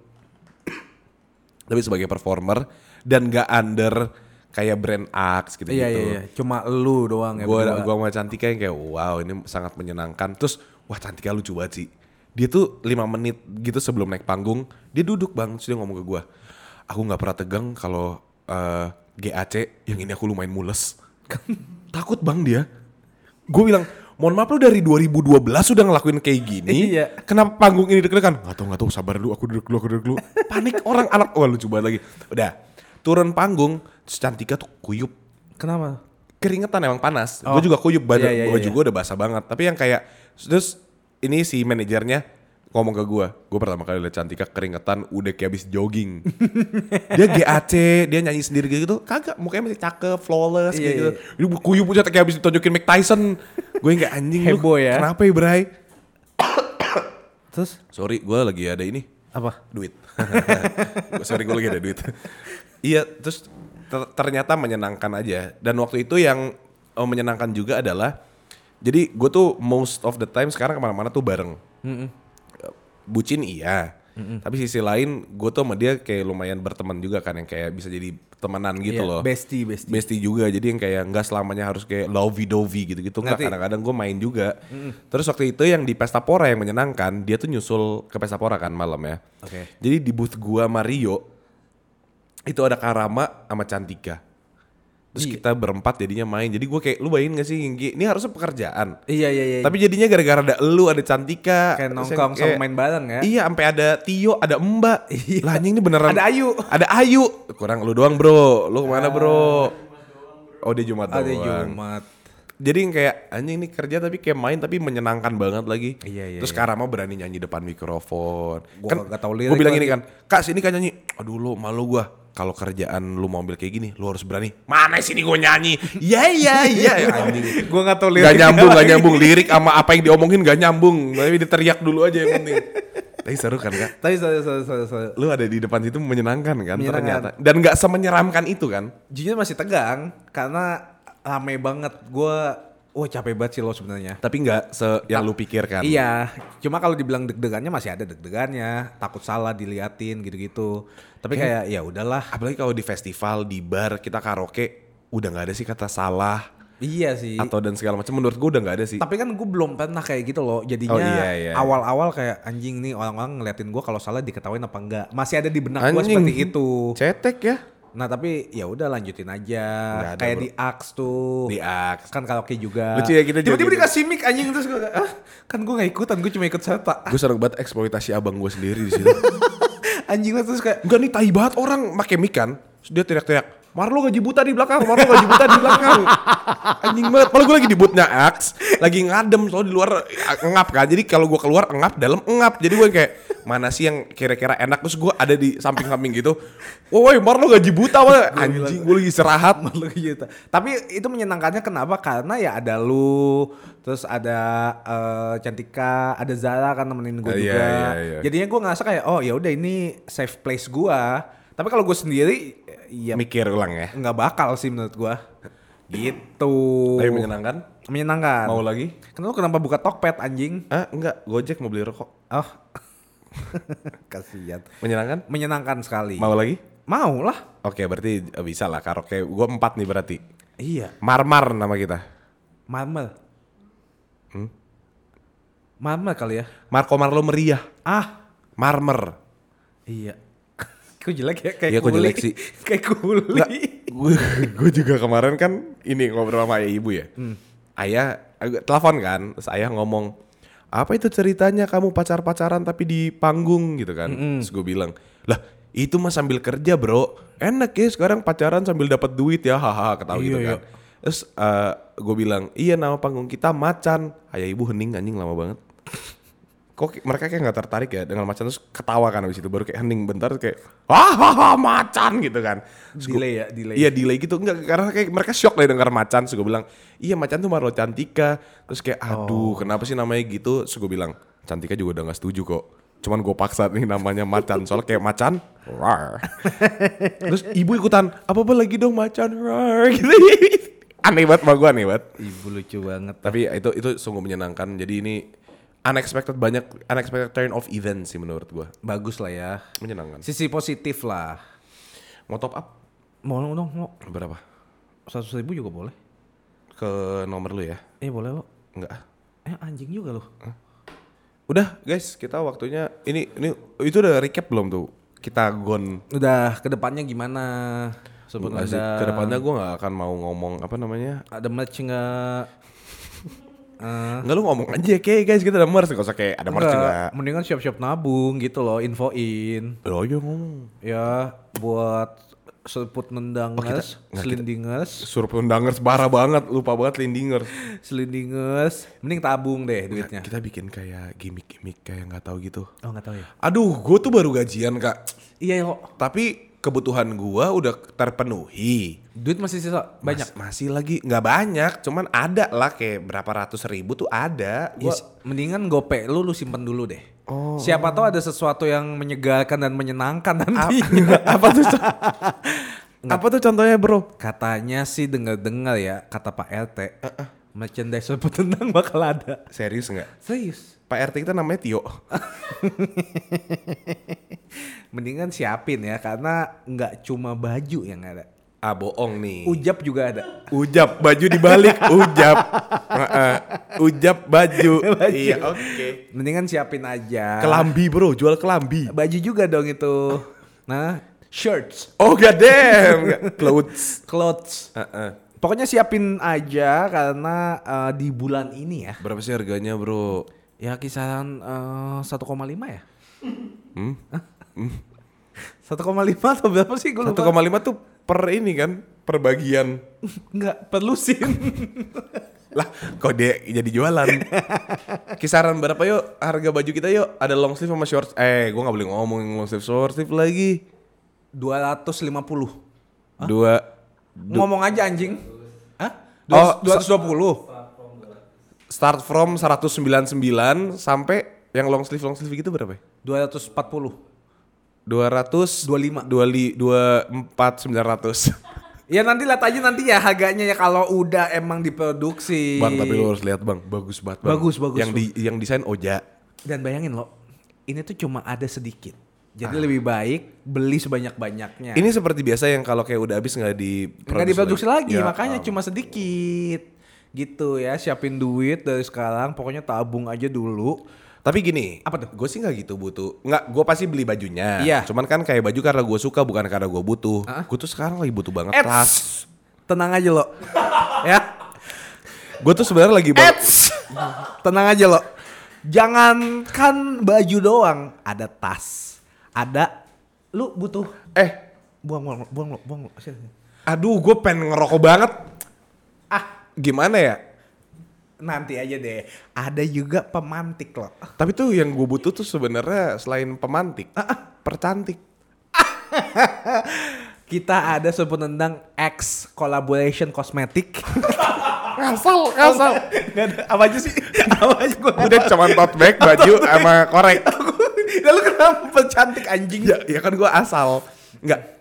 tapi sebagai performer dan gak under kayak brand acts gitu-gitu.
Iya iya iya. Cuma lu doang ya.
Gue
berdua.
gitu. gua sama Cantika yang kayak wow ini sangat menyenangkan. Terus wah Cantika lucu banget sih. Dia tuh 5 menit gitu sebelum naik panggung, dia duduk bang, terus dia ngomong ke gua Aku nggak pernah tegang kalau eh, GAC yang ini aku lumayan mules. [laughs] Takut bang dia. Gue bilang, mohon maaf lu dari 2012 sudah ngelakuin kayak gini.
Iya.
Kenapa panggung ini deg-degan? Gak tau, gak tau, sabar dulu, aku duduk dulu, aku duduk dulu. Panik orang anak, wah lucu banget lagi. Udah, turun panggung, terus Cantika tuh kuyup
Kenapa?
keringetan emang panas.
Oh.
Gue juga kuyup badan,
Iya, iya,
gue
iya.
juga udah basah banget. Tapi yang kayak terus ini si manajernya ngomong ke gue, gue pertama kali liat Cantika keringetan udah kayak habis
[laughs]
jogging. dia GAC, dia nyanyi sendiri gitu, kagak mukanya masih cakep, flawless
Iya,
kayak
iya.
gitu. Ini kuyup aja kayak habis ditonjokin Mike Tyson. gue nggak anjing lu.
[laughs] Heboh ya.
Kenapa ya Bray?
Terus
Sorry, gue lagi ada ini
apa?
duit. [laughs] Gua- Sorry gue lagi ada duit. iya, terus ter- ternyata menyenangkan aja. Dan waktu itu yang eh, menyenangkan juga adalah, jadi gue tuh most of the time sekarang kemana-mana tuh bareng. Eh, Bucin iya, Tapi sisi lain gue tuh sama dia kayak lumayan berteman juga kan yang kayak bisa jadi temenan gitu
Iya,
loh.
bestie, bestie.
Bestie juga jadi yang kayak nggak selamanya harus kayak lovey dovey gitu-gitu. Nggak,
Ngerti.
kadang-kadang gue main juga. Terus waktu itu yang di Pesta Pora yang menyenangkan, dia tuh nyusul ke Pesta Pora kan malam ya.
Oke.
Jadi di booth gua Mario itu ada Karama sama Cantika. Terus
Iya.
kita berempat jadinya main. Jadi gue kayak lu bayangin gak sih Hinggi? Ini harusnya pekerjaan.
Iya iya iya.
Tapi jadinya gara-gara ada elu, ada
Kayak
Cantika, terus yang
nongkrong sama
kayak-
main bareng ya.
Iya, sampai ada Tio, ada Mbak.
Iya.
Lah anjing ini beneran.
Ada Ayu. Ah.
Ada Ayu. Kurang lu doang, Bro. Lu kemana Bro? Oh, dia Jumat
Ada
doang.
Jumat.
Jadi yang kayak anjing ini kerja tapi kayak main tapi menyenangkan banget lagi.
Iya, iya,
Terus Karama berani nyanyi depan mikrofon.
Gua
kan
nggak tahu
Gue
lirik
bilang
lagi.
ini kan, "Kak, sini kan nyanyi." Aduh lu malu gua. Kalau kerjaan lu mau ambil kayak gini, lu harus berani. Mana sini gue [laughs] nyanyi? Iya iya iya [laughs] anjing.
Gue gak tau
Gak nyambung, [laughs] gak nyambung lirik sama apa yang diomongin gak nyambung. Tapi diteriak dulu aja yang penting. [laughs] Tapi seru kan kak?
Tapi sorry, sorry, sorry, sorry.
Lu ada di depan situ menyenangkan kan ternyata.
Menyenangkan.
Dan gak semenyeramkan itu kan?
Jujur masih tegang karena rame banget. Gue, wah capek banget sih lo sebenarnya.
Tapi gak se yang lu pikirkan.
Iya, cuma kalau dibilang deg-degannya masih ada deg-degannya, takut salah diliatin gitu-gitu. Tapi kayak ya udahlah.
Apalagi kalau di festival, di bar, kita karaoke, udah gak ada sih kata salah
Iya sih.
atau dan segala macam. Menurut gue udah gak ada sih.
Tapi kan gue belum pernah kayak gitu loh. Jadinya
Oh, iya, iya.
awal-awal kayak anjing nih orang-orang ngeliatin gue kalau salah diketawain apa enggak. Masih ada di benak gue
Anjing.
seperti itu.
Cetek ya.
Nah tapi ya udah lanjutin aja.
Nggak ada,
kayak
bro.
di Axe tuh.
Di Axe.
Kan karaoke juga.
Lucu ya, kita juga
Tiba-tiba
gitu.
dikasih mic anjing terus gue ah, kan gue gak ikutan gue cuma ikut serta.
Gue sering banget eksploitasi abang gue sendiri di situ.
anjing lah terus kayak
[laughs] Enggak nih tai banget orang make mic kan. Terus dia teriak-teriak, Marlo gaji buta di belakang, Marlo gaji buta di belakang. Anjing banget. Padahal gue lagi di bootnya Ax, lagi ngadem soalnya di luar eh, ngap kan. Jadi kalau gue keluar ngap, dalam ngap. Jadi gue kayak mana sih yang kira-kira enak terus gue ada di samping-samping gitu. Woi, Marlo gaji buta, wah. anjing gue lagi istirahat.
malu gitu. Tapi itu menyenangkannya kenapa? Karena ya ada lu, terus ada eh, Cantika, ada Zara kan nemenin gue
Ah, iya,
juga.
iya, iya.
Jadinya gue ngerasa kayak oh ya udah ini safe place gue. Tapi kalau gue sendiri ya
Mikir ulang ya.
nggak bakal sih menurut gue. Gitu.
Tapi menyenangkan.
Menyenangkan.
Mau lagi?
Kenapa kenapa buka Tokped anjing?
Kan. Ah, enggak, Gojek mau beli rokok.
Oh. [laughs] Kasihan.
Menyenangkan?
Menyenangkan sekali.
Mau lagi?
Mau lah.
Iya. Oke, berarti eh, bisa lah karaoke. Gue empat nih berarti.
Iya.
Marmar nama kita.
Marmel.
Hmm?
Marmel kali ya.
Marco Marlo meriah.
Ah,
Marmer.
iya. [laughs] Kok jelek ya kayak
Iya, kok
kuli.
jelek sih.
[laughs] kayak kuli.
[laughs] Gue juga kemarin kan ini ngobrol sama ayah ibu ya.
Hmm.
Ayah agak telepon kan, terus ayah ngomong apa itu ceritanya kamu pacar-pacaran tapi di panggung gitu kan.
Hmm.
Terus gue bilang, "Lah, itu mah sambil kerja, Bro. Enak ya sekarang pacaran sambil dapat duit ya." Hahaha, ketawa gitu
Iya,
kan. Terus gue bilang, "Iya, nama panggung kita Macan." Ayah ibu hening anjing lama banget. kok mereka kayak nggak tertarik ya dengan macan terus ketawa kan abis itu baru kayak hening bentar terus kayak hahaha macan gitu kan Terus gua-
Delay ya, delay.
iya delay gitu enggak karena kayak mereka shock lah dengar macan terus gue bilang iya macan tuh Marlo Cantika terus kayak aduh kenapa sih namanya gitu terus gue bilang Cantika juga udah nggak setuju kok cuman gue paksa nih namanya macan soalnya kayak macan rar terus ibu ikutan apa apa lagi dong macan rar [laughs] gitu aneh banget sama gue aneh banget
Ibu lucu banget.
tapi ya itu itu sungguh menyenangkan. Jadi ini unexpected banyak unexpected turn of event sih menurut gua.
Bagus lah ya.
Menyenangkan.
Sisi positif lah.
Mau top up
Mau dong, dong, mau
berapa?
seratus ribu juga boleh.
Ke nomor lu ya?
Eh boleh lo.
Enggak. ah.
Eh anjing juga lo.
Udah, guys, kita waktunya ini ini itu udah recap belum tuh? Kita gon
Udah kedepannya gimana? Sebut
Nggak sih,
ada.
Kedepannya gua nggak akan mau ngomong apa namanya.
Ada merch nggak? Eh,
Enggak lu ngomong aja kayak guys kita ada merch gak usah kayak ada merch
enggak.
enggak.
Mendingan siap-siap nabung gitu loh, infoin.
Lo aja iya, ngomong.
Ya, buat serput nendangers,
nggak, Oh, kita-
selindingers,
Surup undangers parah banget, lupa banget lindingers.
selindingers. Mending tabung deh duitnya.
Kita bikin kayak gimmick-gimmick kayak nggak tahu gitu.
Oh nggak tahu ya.
Aduh, gue tuh baru gajian kak.
Iya kok.
Tapi kebutuhan gua udah terpenuhi.
Duit masih sisa
Mas-
banyak.
masih lagi nggak banyak, cuman ada lah kayak berapa ratus ribu tuh ada.
Gua-
Gua,
mendingan gope lu lu simpen dulu deh. Siapa tahu ada sesuatu yang menyegarkan dan menyenangkan [laughs] nanti.
apa tuh? co- apa tuh contohnya bro?
Katanya sih dengar-dengar ya kata Pak RT. merchandise Rumput Tendang bakal ada.
Serius nggak?
Serius.
Pak RT kita namanya Tio.
Mendingan siapin ya karena nggak cuma baju yang ada.
Ah bohong nih.
Ujap juga ada.
Ujap baju dibalik ujap. Heeh. ujap [laughs] baju. Iya, oke.
Mendingan siapin aja.
Kelambi, Bro, jual kelambi.
Baju juga dong itu. Nah, shirts,
Oh god damn. [laughs] Clothes.
clothes.
Heeh.
Pokoknya siapin aja karena eh, di bulan ini ya.
Berapa sih harganya, Bro?
Ya kisaran eh, 1,5 ya?
Hmm?
1,5 atau berapa sih gue
1,5
lupa.
tuh per ini kan, per bagian.
Enggak, perlusin.
Lah, kok dia jadi jualan? [laughs] Kisaran berapa yuk harga baju kita yuk? Ada long sleeve sama short. Eh, gua nggak boleh ngomongin long sleeve short sleeve lagi.
250.
Dua
Ngomong aja anjing. Hah?
Oh,
Dua- 220.
start from 199 sampai yang long sleeve long sleeve gitu berapa ya?
240. 25.
200 25 24 900.
Ya nanti lihat aja nanti ya harganya ya kalau udah emang diproduksi.
Bang, tapi lu harus lihat, Bang. Bagus banget, Bang.
Bagus, bagus,
Yang di yang desain Oja.
Dan bayangin loh, ini tuh cuma ada sedikit. Jadi lebih baik beli sebanyak-banyaknya.
Ah. Ini seperti biasa yang kalau kayak udah habis nggak diproduksi
Ya. nggak diproduksi lagi,
Ya
makanya cuma sedikit. Gitu ya, siapin duit dari sekarang, pokoknya tabung aja dulu.
Tapi gini,
Apa tuh?
Gue sih nggak gitu butuh. Nggak, gue pasti beli bajunya.
Iya.
Cuman kan kayak baju karena gue suka bukan karena gue butuh. Gue tuh sekarang lagi butuh banget tas.
Eits, tenang aja lo. ya,
Gue tuh sebenarnya lagi banget.
Eits, tenang aja lo. Jangankan baju doang, ada tas, ada lu butuh
Eh,
buang buang lo, buang lo, buang lo. Sini, sini.
aduh, gue pengen ngerokok banget.
Ah,
Gimana ya?
nanti aja deh. Ada juga pemantik lo.
Tapi tuh yang gue butuh tuh sebenarnya selain pemantik,
Ah,
percantik.
Kita ada sebut tentang X collaboration kosmetik.
Ngasal, ngasal.
[laughs] Nggak ada, apa aja sih? [laughs] apa aja gue
Udah cuman tote bag,
[laughs]
baju, sama korek.
Ya lu kenapa percantik anjing?
ya, ya kan gue asal. Enggak.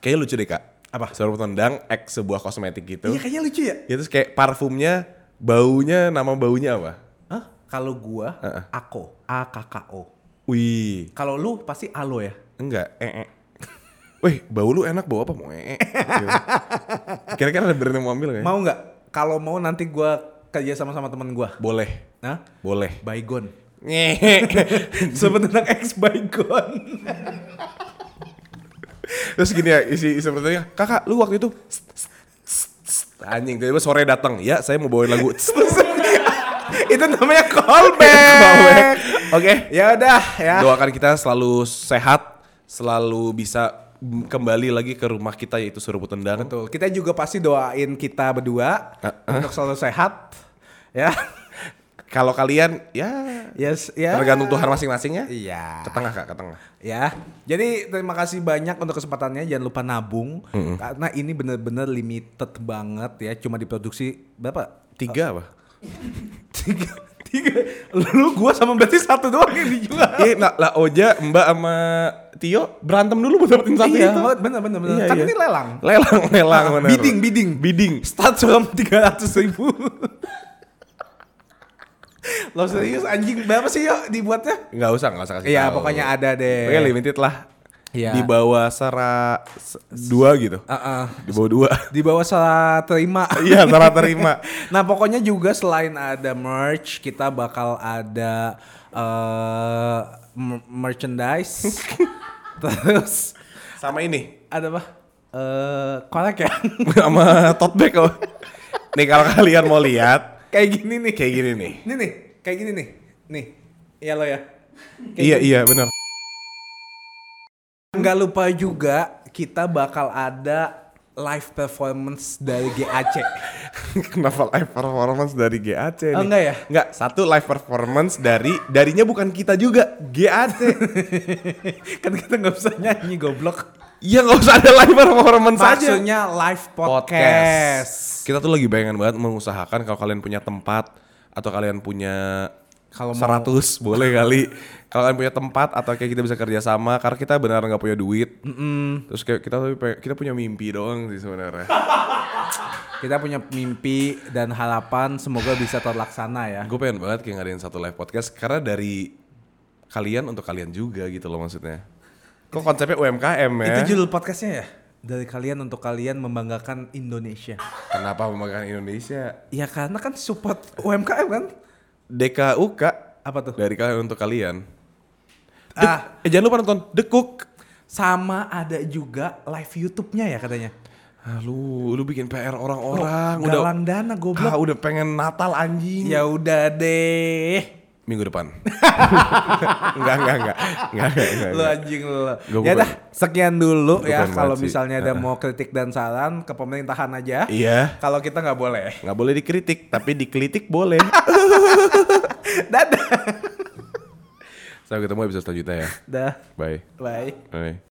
Kayaknya lucu deh, Kak. Apa? Seorang tendang, X sebuah kosmetik gitu.
Iya kayaknya lucu ya.
Ya terus kayak parfumnya, baunya, nama baunya apa?
Hah? Kalau gua,
Heeh.
Ako, A K K O.
Wih,
Kalau lu pasti Alo ya.
enggak, eh, eh. Wih, bau lu enak bau apa mau eh, eh.
[laughs]
Gitu. Kira-kira ada berani mau ambil gak ya?
Mau nggak? Kalau mau nanti gua kerja sama sama teman gua.
Boleh,
Nah,
boleh.
[laughs] Baygon.
Ngehe.
Sebenarnya ex Baygon. [laughs]
terus gini ya, isi, isi pertanyaannya, kakak lu waktu itu anjing, tiba-tiba sore datang, ya saya mau bawain lagu.
Itu namanya callback.
Callback. Oke.
Ya udah [laughs] ya.
Doakan kita selalu sehat, selalu bisa kembali lagi ke rumah kita yaitu Surabaya Tendang.
Betul. Kita juga pasti doain kita berdua
Ah,
untuk selalu sehat. Ya. [laughs]
Kalau kalian ya
Yes, ya.
Tergantung Tuhan masing-masingnya.
Iya.
Ke tengah kak, ke tengah.
ya. Jadi terima kasih banyak untuk kesempatannya. Jangan lupa nabung karena ini bener-bener limited banget ya. Cuma diproduksi berapa? [laughs]
Tiga apa?
Tiga. Tiga. Lu gua sama berarti satu doang yang dijual.
Eh, nah, lah Oja, Mbak sama Tio berantem dulu buat dapetin satu
iya,
itu.
bener bener bener.
Iya,
kan
iya.
ini lelang.
Lelang, lelang. bener.
bidding, bidding.
Bidding.
Start from 300 ribu. [laughs] Lo serius anjing berapa sih yuk dibuatnya?
Nggak usah, nggak usah kasih
Iya
tahu.
pokoknya ada deh.
Pokoknya limited lah.
Iya.
Di bawah sara s- dua gitu.
Uh-uh.
Di bawah
[laughs]
dua.
Di bawah salah terima.
Iya, sara terima.
[laughs] Nah pokoknya juga selain ada merch, kita bakal ada eh, mer-
[laughs]
merchandise. Terus
Sama ini.
ada apa? Eh, kolek ya? [laughs]
sama tote bag kok. Nih kalau kalian mau lihat,
kayak gini nih.
kayak gini nih.
Ini nih, kayak gini nih. Nih, iya lo ya. Kayak
Iya,
gini.
iya bener. [laughs]
Nggak lupa juga kita bakal ada live performance dari GAC.
Kenapa live performance dari GAC nih?
Oh, enggak ya? [laughs]
Enggak, satu live performance dari darinya bukan kita juga, GAC.
kan kita nggak bisa nyanyi goblok.
ya nggak usah ada live performance aja.
Maksudnya live podcast.
Kita tuh lagi bayangan banget mengusahakan kalau kalian punya tempat atau kalian punya
Kalau mau-
100
[laughs]
boleh kali. Kalau kalian punya tempat atau kayak kita bisa kerja sama karena kita benar nggak punya duit. Terus kayak kita tuh pe- kita punya mimpi doang sih
[laughs]
sebenarnya.
Kita punya mimpi dan harapan semoga bisa terlaksana ya.
Gue pengen banget kayak ngadain satu live podcast karena dari kalian untuk kalian juga gitu loh maksudnya. Kok konsepnya UMKM ya?
Itu judul podcastnya ya? Dari kalian untuk kalian membanggakan Indonesia.
Kenapa pemakan Indonesia?
Ya karena kan support UMKM kan? Ah,
DKUK
Apa tuh?
dari kalian untuk kalian. The-
Ah,
eh, jangan lupa nonton The Cook.
sama ada juga live YouTube-nya ya katanya.
Ah, lu lu bikin PR
Loh,
orang-orang udah
Oh, galang dana goblok.
Ah, udah pengen Natal anjing.
Ya udah deh.
Minggu
[laughs]
depan. enggak, enggak, enggak. Enggak, enggak, enggak,
Lu
enggak.
anjing lu.
Gua
Ya
bukan.
dah, sekian dulu
Gua
ya
bukan
kalau
banget sih.
misalnya ada
Heeh.
mau kritik dan saran ke pemerintahan aja.
Iya.
Kalau kita nggak [laughs] boleh.
Enggak boleh dikritik, tapi dikritik boleh.
Dadah.
Sampai ketemu episode selanjutnya ya.
Dah.
Bye.
Bye.
Bye.